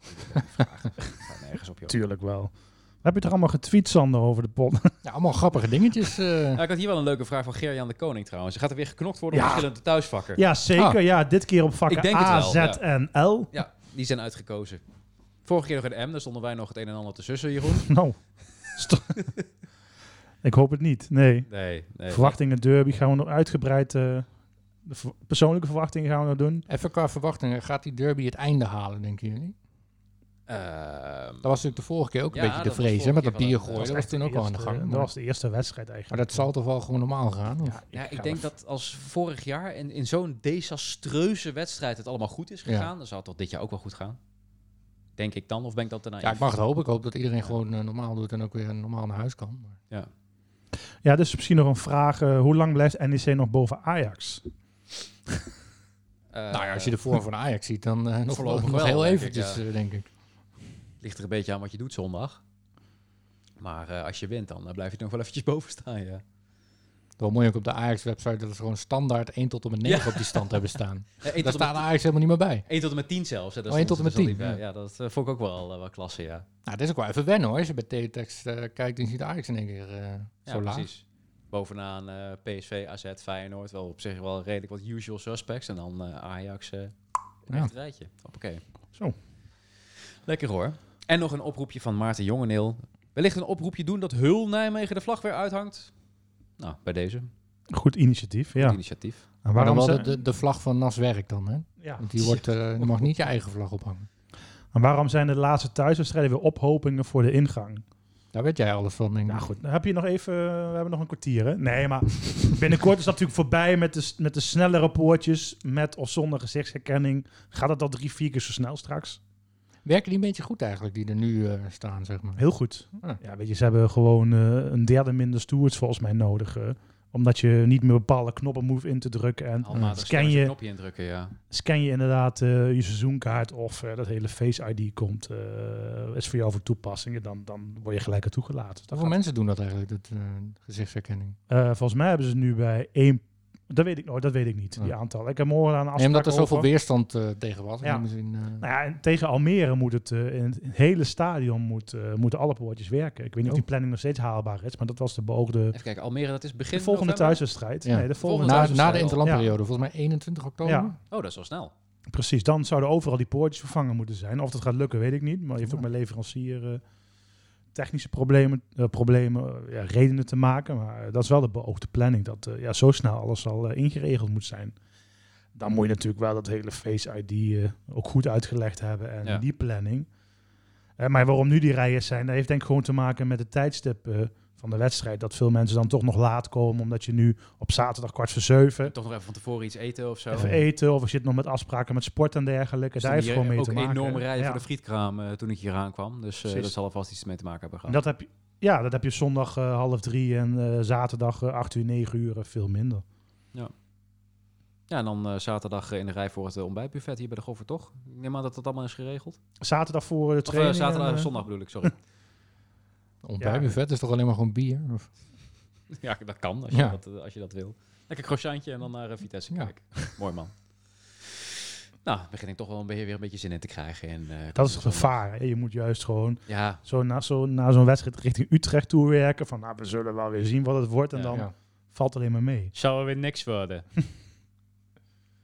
S2: Vraag. Gaat nergens op joh.
S5: Tuurlijk wel. heb je toch allemaal getweet, Sander, over de
S2: [LAUGHS]
S5: pot?
S3: Ja, allemaal grappige dingetjes. eh.
S2: Nou, ik had hier wel een leuke vraag van Gerjan de Koning trouwens. Gaat er weer geknokt worden op
S5: Ja.
S2: verschillende thuisvakken?
S5: ja, zeker.
S3: Ah.
S5: Ja, dit keer op
S2: Ik
S5: vakken
S2: denk het
S5: A,
S2: wel,
S5: Z
S2: ja.
S5: en L.
S2: Ja, die zijn uitgekozen. Vorige keer nog in M, daar stonden wij nog het een en ander te sussen,
S3: [LAUGHS]
S2: Jeroen.
S5: Nou, sto- [LAUGHS] ik hoop het niet. Nee.
S2: Nee, nee.
S5: Verwachtingen derby gaan we nog uitgebreid... eh, de ver- persoonlijke verwachtingen gaan we nog doen.
S3: Even qua verwachtingen, gaat die derby het einde halen, denken jullie?
S2: Ehm,
S3: Dat was natuurlijk de vorige keer ook een
S2: Ja,
S3: beetje de
S2: dat was
S3: vrees, hè,
S2: vorige keer
S3: met dat
S2: wel
S3: bier
S2: een-
S3: gooien.
S2: dat
S3: Dat
S2: was
S3: was toen ook al aan de gang.
S5: Dat
S3: Maar,
S5: was de eerste wedstrijd
S3: maar
S5: eigenlijk.
S3: dat zal toch wel gewoon normaal gaan? Of?
S2: eh, ja, ik
S5: ga-
S2: denk dat als vorig jaar in, in zo'n desastreuze wedstrijd het allemaal goed is
S3: Ja.
S2: gegaan, dan zou het toch dit jaar ook wel goed gaan. Denk ik dan, of ben ik dat daarna?
S3: Ja, ik mag het hopen. Ik hoop dat iedereen gewoon eh, normaal doet en ook weer normaal naar huis kan. Maar
S5: Ja, dus misschien nog een vraag. eh, hoe lang blijft NEC nog boven Ajax?
S2: Eh,
S3: nou ja, als je de vorm van Ajax ziet, dan eh nog,
S2: Voorlopig
S3: nog
S2: wel,
S3: heel
S2: denk ik,
S3: eventjes,
S2: ja.
S3: eh, denk ik.
S2: eh, ligt er een beetje aan wat je doet zondag. Maar eh, als je wint, dan eh, blijf je er nog wel eventjes [LAUGHS] boven staan, ja. Eh,
S3: Wel mooi ook op de Ajax-website dat ze gewoon standaard 1 tot en met 9 op die stand hebben
S2: [LAUGHS]
S3: staan.
S2: Eh, één
S3: Daar
S2: tot en met-
S3: staat Ajax helemaal niet meer bij.
S2: één tot en met 10 zelfs. Hè, dat
S3: Oh, één tot en
S2: stond
S3: met
S2: er dus al
S3: 10,
S2: niet bij. Ja, dat eh, vond ik ook wel, eh, wel klasse, ja.
S3: Nou, dat is ook wel even wennen hoor. Als je bij teletext eh, kijkt, dan ziet Ajax in één keer eh,
S2: Ja,
S3: zo laag.
S2: precies. Bovenaan eh, PSV, AZ, Feyenoord. Wel op zich wel redelijk wat usual suspects. En dan eh, Ajax, eh een
S3: Ja.
S2: echt rijtje. Hoppakee.
S5: Zo.
S2: Lekker hoor. En nog een oproepje van Maarten Jongeneel. Wellicht een oproepje doen dat Hul Nijmegen de vlag weer uithangt. Nou, bij deze.
S5: Goed initiatief, ja.
S2: Initiatief.
S5: En
S3: Maar
S5: waarom
S3: dan wel
S5: zijn,
S3: de, de, de vlag van Nas werkt dan, hè?
S5: ja.
S3: Want
S2: [LAUGHS]
S3: die wordt, eh, je mag niet je eigen vlag ophangen.
S5: en waarom zijn de laatste thuiswedstrijden weer ophopingen voor de ingang?
S3: Daar weet jij alles van, denk ik.
S5: Nou goed, dan heb je nog even... We hebben nog een kwartier, hè? Nee, maar binnenkort is dat natuurlijk voorbij met de, s- met de snellere poortjes. Met of zonder gezichtsherkenning. Gaat dat al drie, vier keer zo snel straks?
S3: Werken die een beetje goed eigenlijk, die er nu eh, staan, zeg maar?
S5: Heel goed.
S3: Ah.
S5: Ja, weet je, ze hebben gewoon eh, een derde minder stewards volgens mij nodig. eh, omdat je niet meer bepaalde knoppen hoeft in te drukken. En
S2: Almatig
S5: scan
S2: een
S5: je-
S2: knopje indrukken, ja.
S5: scan je inderdaad eh, je seizoenkaart of eh, dat hele Face ID komt, eh, is voor jou voor toepassingen, dan, dan word je gelijk ertoe gelaten. Dat
S3: Hoeveel
S5: gaat-
S3: mensen doen dat eigenlijk, dat eh, gezichtsherkenning?
S5: Eh, volgens mij hebben ze het nu bij één. Dat weet ik nooit, dat weet ik niet, die
S3: Ja.
S5: aantal. Ik heb morgen aan een
S3: Nee,
S5: afspraak
S3: omdat er zoveel
S5: over.
S3: weerstand eh, tegen was.
S5: Ja.
S3: Ja. Misschien, eh,
S5: Nou ja, en tegen Almere moet het eh, in het hele stadion moet, eh, moeten alle poortjes werken. Ik weet niet of
S3: Oh.
S5: die planning nog steeds haalbaar is, maar dat was de beoogde
S2: Even kijken, Almere, dat is begin
S5: de volgende
S2: november?
S5: thuiswedstrijd.
S3: Ja.
S5: Nee, de
S2: Volgende
S5: volgende
S3: na,
S5: thuiswedstrijd.
S3: na
S2: thuiswedstrijd.
S3: de interlandperiode, volgens mij 21 oktober.
S5: Ja.
S2: Oh, dat is wel snel.
S5: Precies, dan zouden overal die poortjes vervangen moeten zijn. Of dat gaat lukken, weet ik niet. Maar je heeft ook
S3: Ja.
S5: met leverancier eh, technische problemen, eh, problemen eh, ja, redenen te maken. Maar eh, dat is wel de beoogde planning, dat eh, ja, zo snel alles al eh, ingeregeld moet zijn. Dan moet je natuurlijk wel dat hele Face ID eh, ook goed uitgelegd hebben en
S2: Ja.
S5: die planning. Eh, maar waarom nu die rijen zijn, dat heeft denk ik gewoon te maken met het tijdstip eh, van de wedstrijd. Dat veel mensen dan toch nog laat komen, omdat je nu op zaterdag kwart voor zeven...
S2: Toch nog even van tevoren iets eten of zo.
S5: Even eten of je zit nog met afspraken met sport en dergelijke.
S2: Er
S5: Daar heeft gewoon mee
S2: ook
S5: te maken.
S2: enorme rijen
S5: Ja.
S2: voor de frietkraam eh, toen ik hier aankwam. Dus eh,
S5: Precies.
S2: dat zal er vast iets mee te maken hebben
S5: En
S2: gehad.
S5: dat heb je, ja, dat heb je zondag eh, half drie en eh, zaterdag eh, acht uur, negen uur eh, veel minder.
S2: Ja, en dan eh, zaterdag eh, in de rij voor het eh, ontbijtbuffet hier bij de Goffer, toch? Ik neem aan dat dat allemaal is geregeld.
S5: Zaterdag voor de
S2: Of eh,
S5: training.
S2: zaterdag,
S5: en, eh,
S2: zondag bedoel ik,
S5: [LAUGHS]
S2: sorry.
S3: Ontbijtbuffet is toch alleen maar gewoon bier? Of?
S2: ja, dat kan, als je,
S3: Ja.
S2: dat, eh, als je dat wil. Lekker croissantje en dan naar eh, Vitesse
S3: Ja.
S2: kijken. [LAUGHS] Mooi man. Nou, begin ik toch wel een beetje, weer een beetje zin in te krijgen. En, eh,
S5: Dat is het gevaar. hè. Je moet juist gewoon
S2: Ja,
S5: zo na zo- na zo'n wedstrijd richting Utrecht toe werken. Van nou, we zullen wel weer zien wat het wordt. En
S2: Ja,
S5: dan
S3: Ja.
S5: valt alleen maar mee.
S2: zou er weer niks
S5: [LAUGHS]
S2: worden.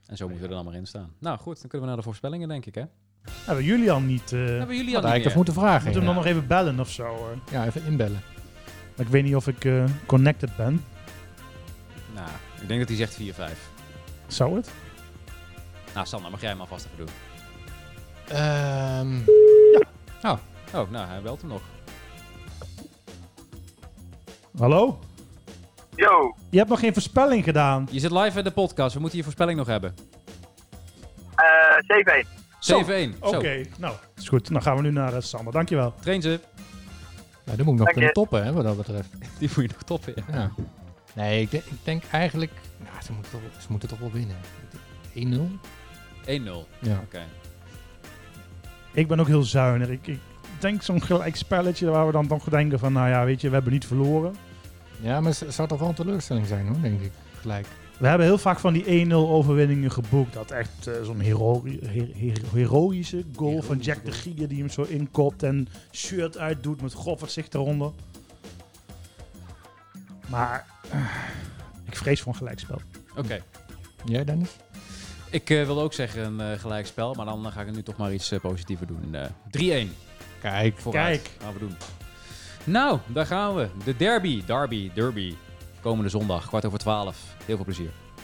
S2: en zo moeten we er dan maar in staan. Nou goed, dan kunnen we naar de voorspellingen, denk ik, hè?
S5: Hebben jullie al niet... eh
S2: Hebben jullie al
S3: Had
S2: niet
S3: eigenlijk even
S2: meer?
S3: moeten vragen.
S5: Moeten we
S3: ja.
S5: hem dan nog even bellen of zo? hoor.
S3: Ja, even inbellen.
S5: Maar Ik weet niet of ik eh, connected ben.
S2: Nou, ik denk dat hij zegt 4-5.
S5: Zou het?
S2: Nou, Sander, mag jij hem alvast even doen?
S3: Ehm,
S2: Oh, nou, hij belt hem nog.
S5: Hallo?
S6: Yo,
S5: Je hebt nog geen voorspelling gedaan.
S2: Je zit live in de podcast. We moeten je voorspelling nog hebben. 7-1.
S6: eh, CV.
S5: Zo.
S2: Zo,
S5: Oké, nou, is goed. Dan gaan we nu naar eh, Sander. Dankjewel.
S2: train ze. [LAUGHS]
S3: nou, dan moet ik nog
S6: Dank
S3: kunnen
S6: je.
S3: toppen, hè, wat dat betreft.
S2: Die moet je nog toppen. ja.
S3: Ja. Nee, ik, denk- ik denk eigenlijk... Nou, ze, moeten toch, ze moeten toch wel winnen. 1-0?
S2: 1-0. Oké.
S3: Ja.
S5: Ik ben ook heel zuinig. Ik, ik denk zo'n gelijk spelletje waar we dan toch denken van, nou ja, weet je, we hebben niet verloren.
S3: ja, maar het zou toch wel een teleurstelling zijn, hoor, denk ik. Gelijk.
S5: We hebben heel vaak van die 1-0 overwinningen geboekt. Dat echt eh, zo'n hero- her- her- heroïsche goal van Jack de Gier die hem zo inkopt en shirt uitdoet met grof gezicht eronder. Maar eh, ik vrees voor een gelijkspel.
S2: Oké.
S3: Jij, Dennis?
S2: Ik eh, wilde ook zeggen een eh, gelijkspel, maar dan eh, ga ik nu toch maar iets eh, positiever doen. Eh 3-1.
S3: Kijk.
S2: Vooruit.
S5: Kijk.
S2: Gaan we doen. Nou, daar gaan we. De derby, derby, derby. Komende zondag, kwart over twaalf. Heel veel plezier.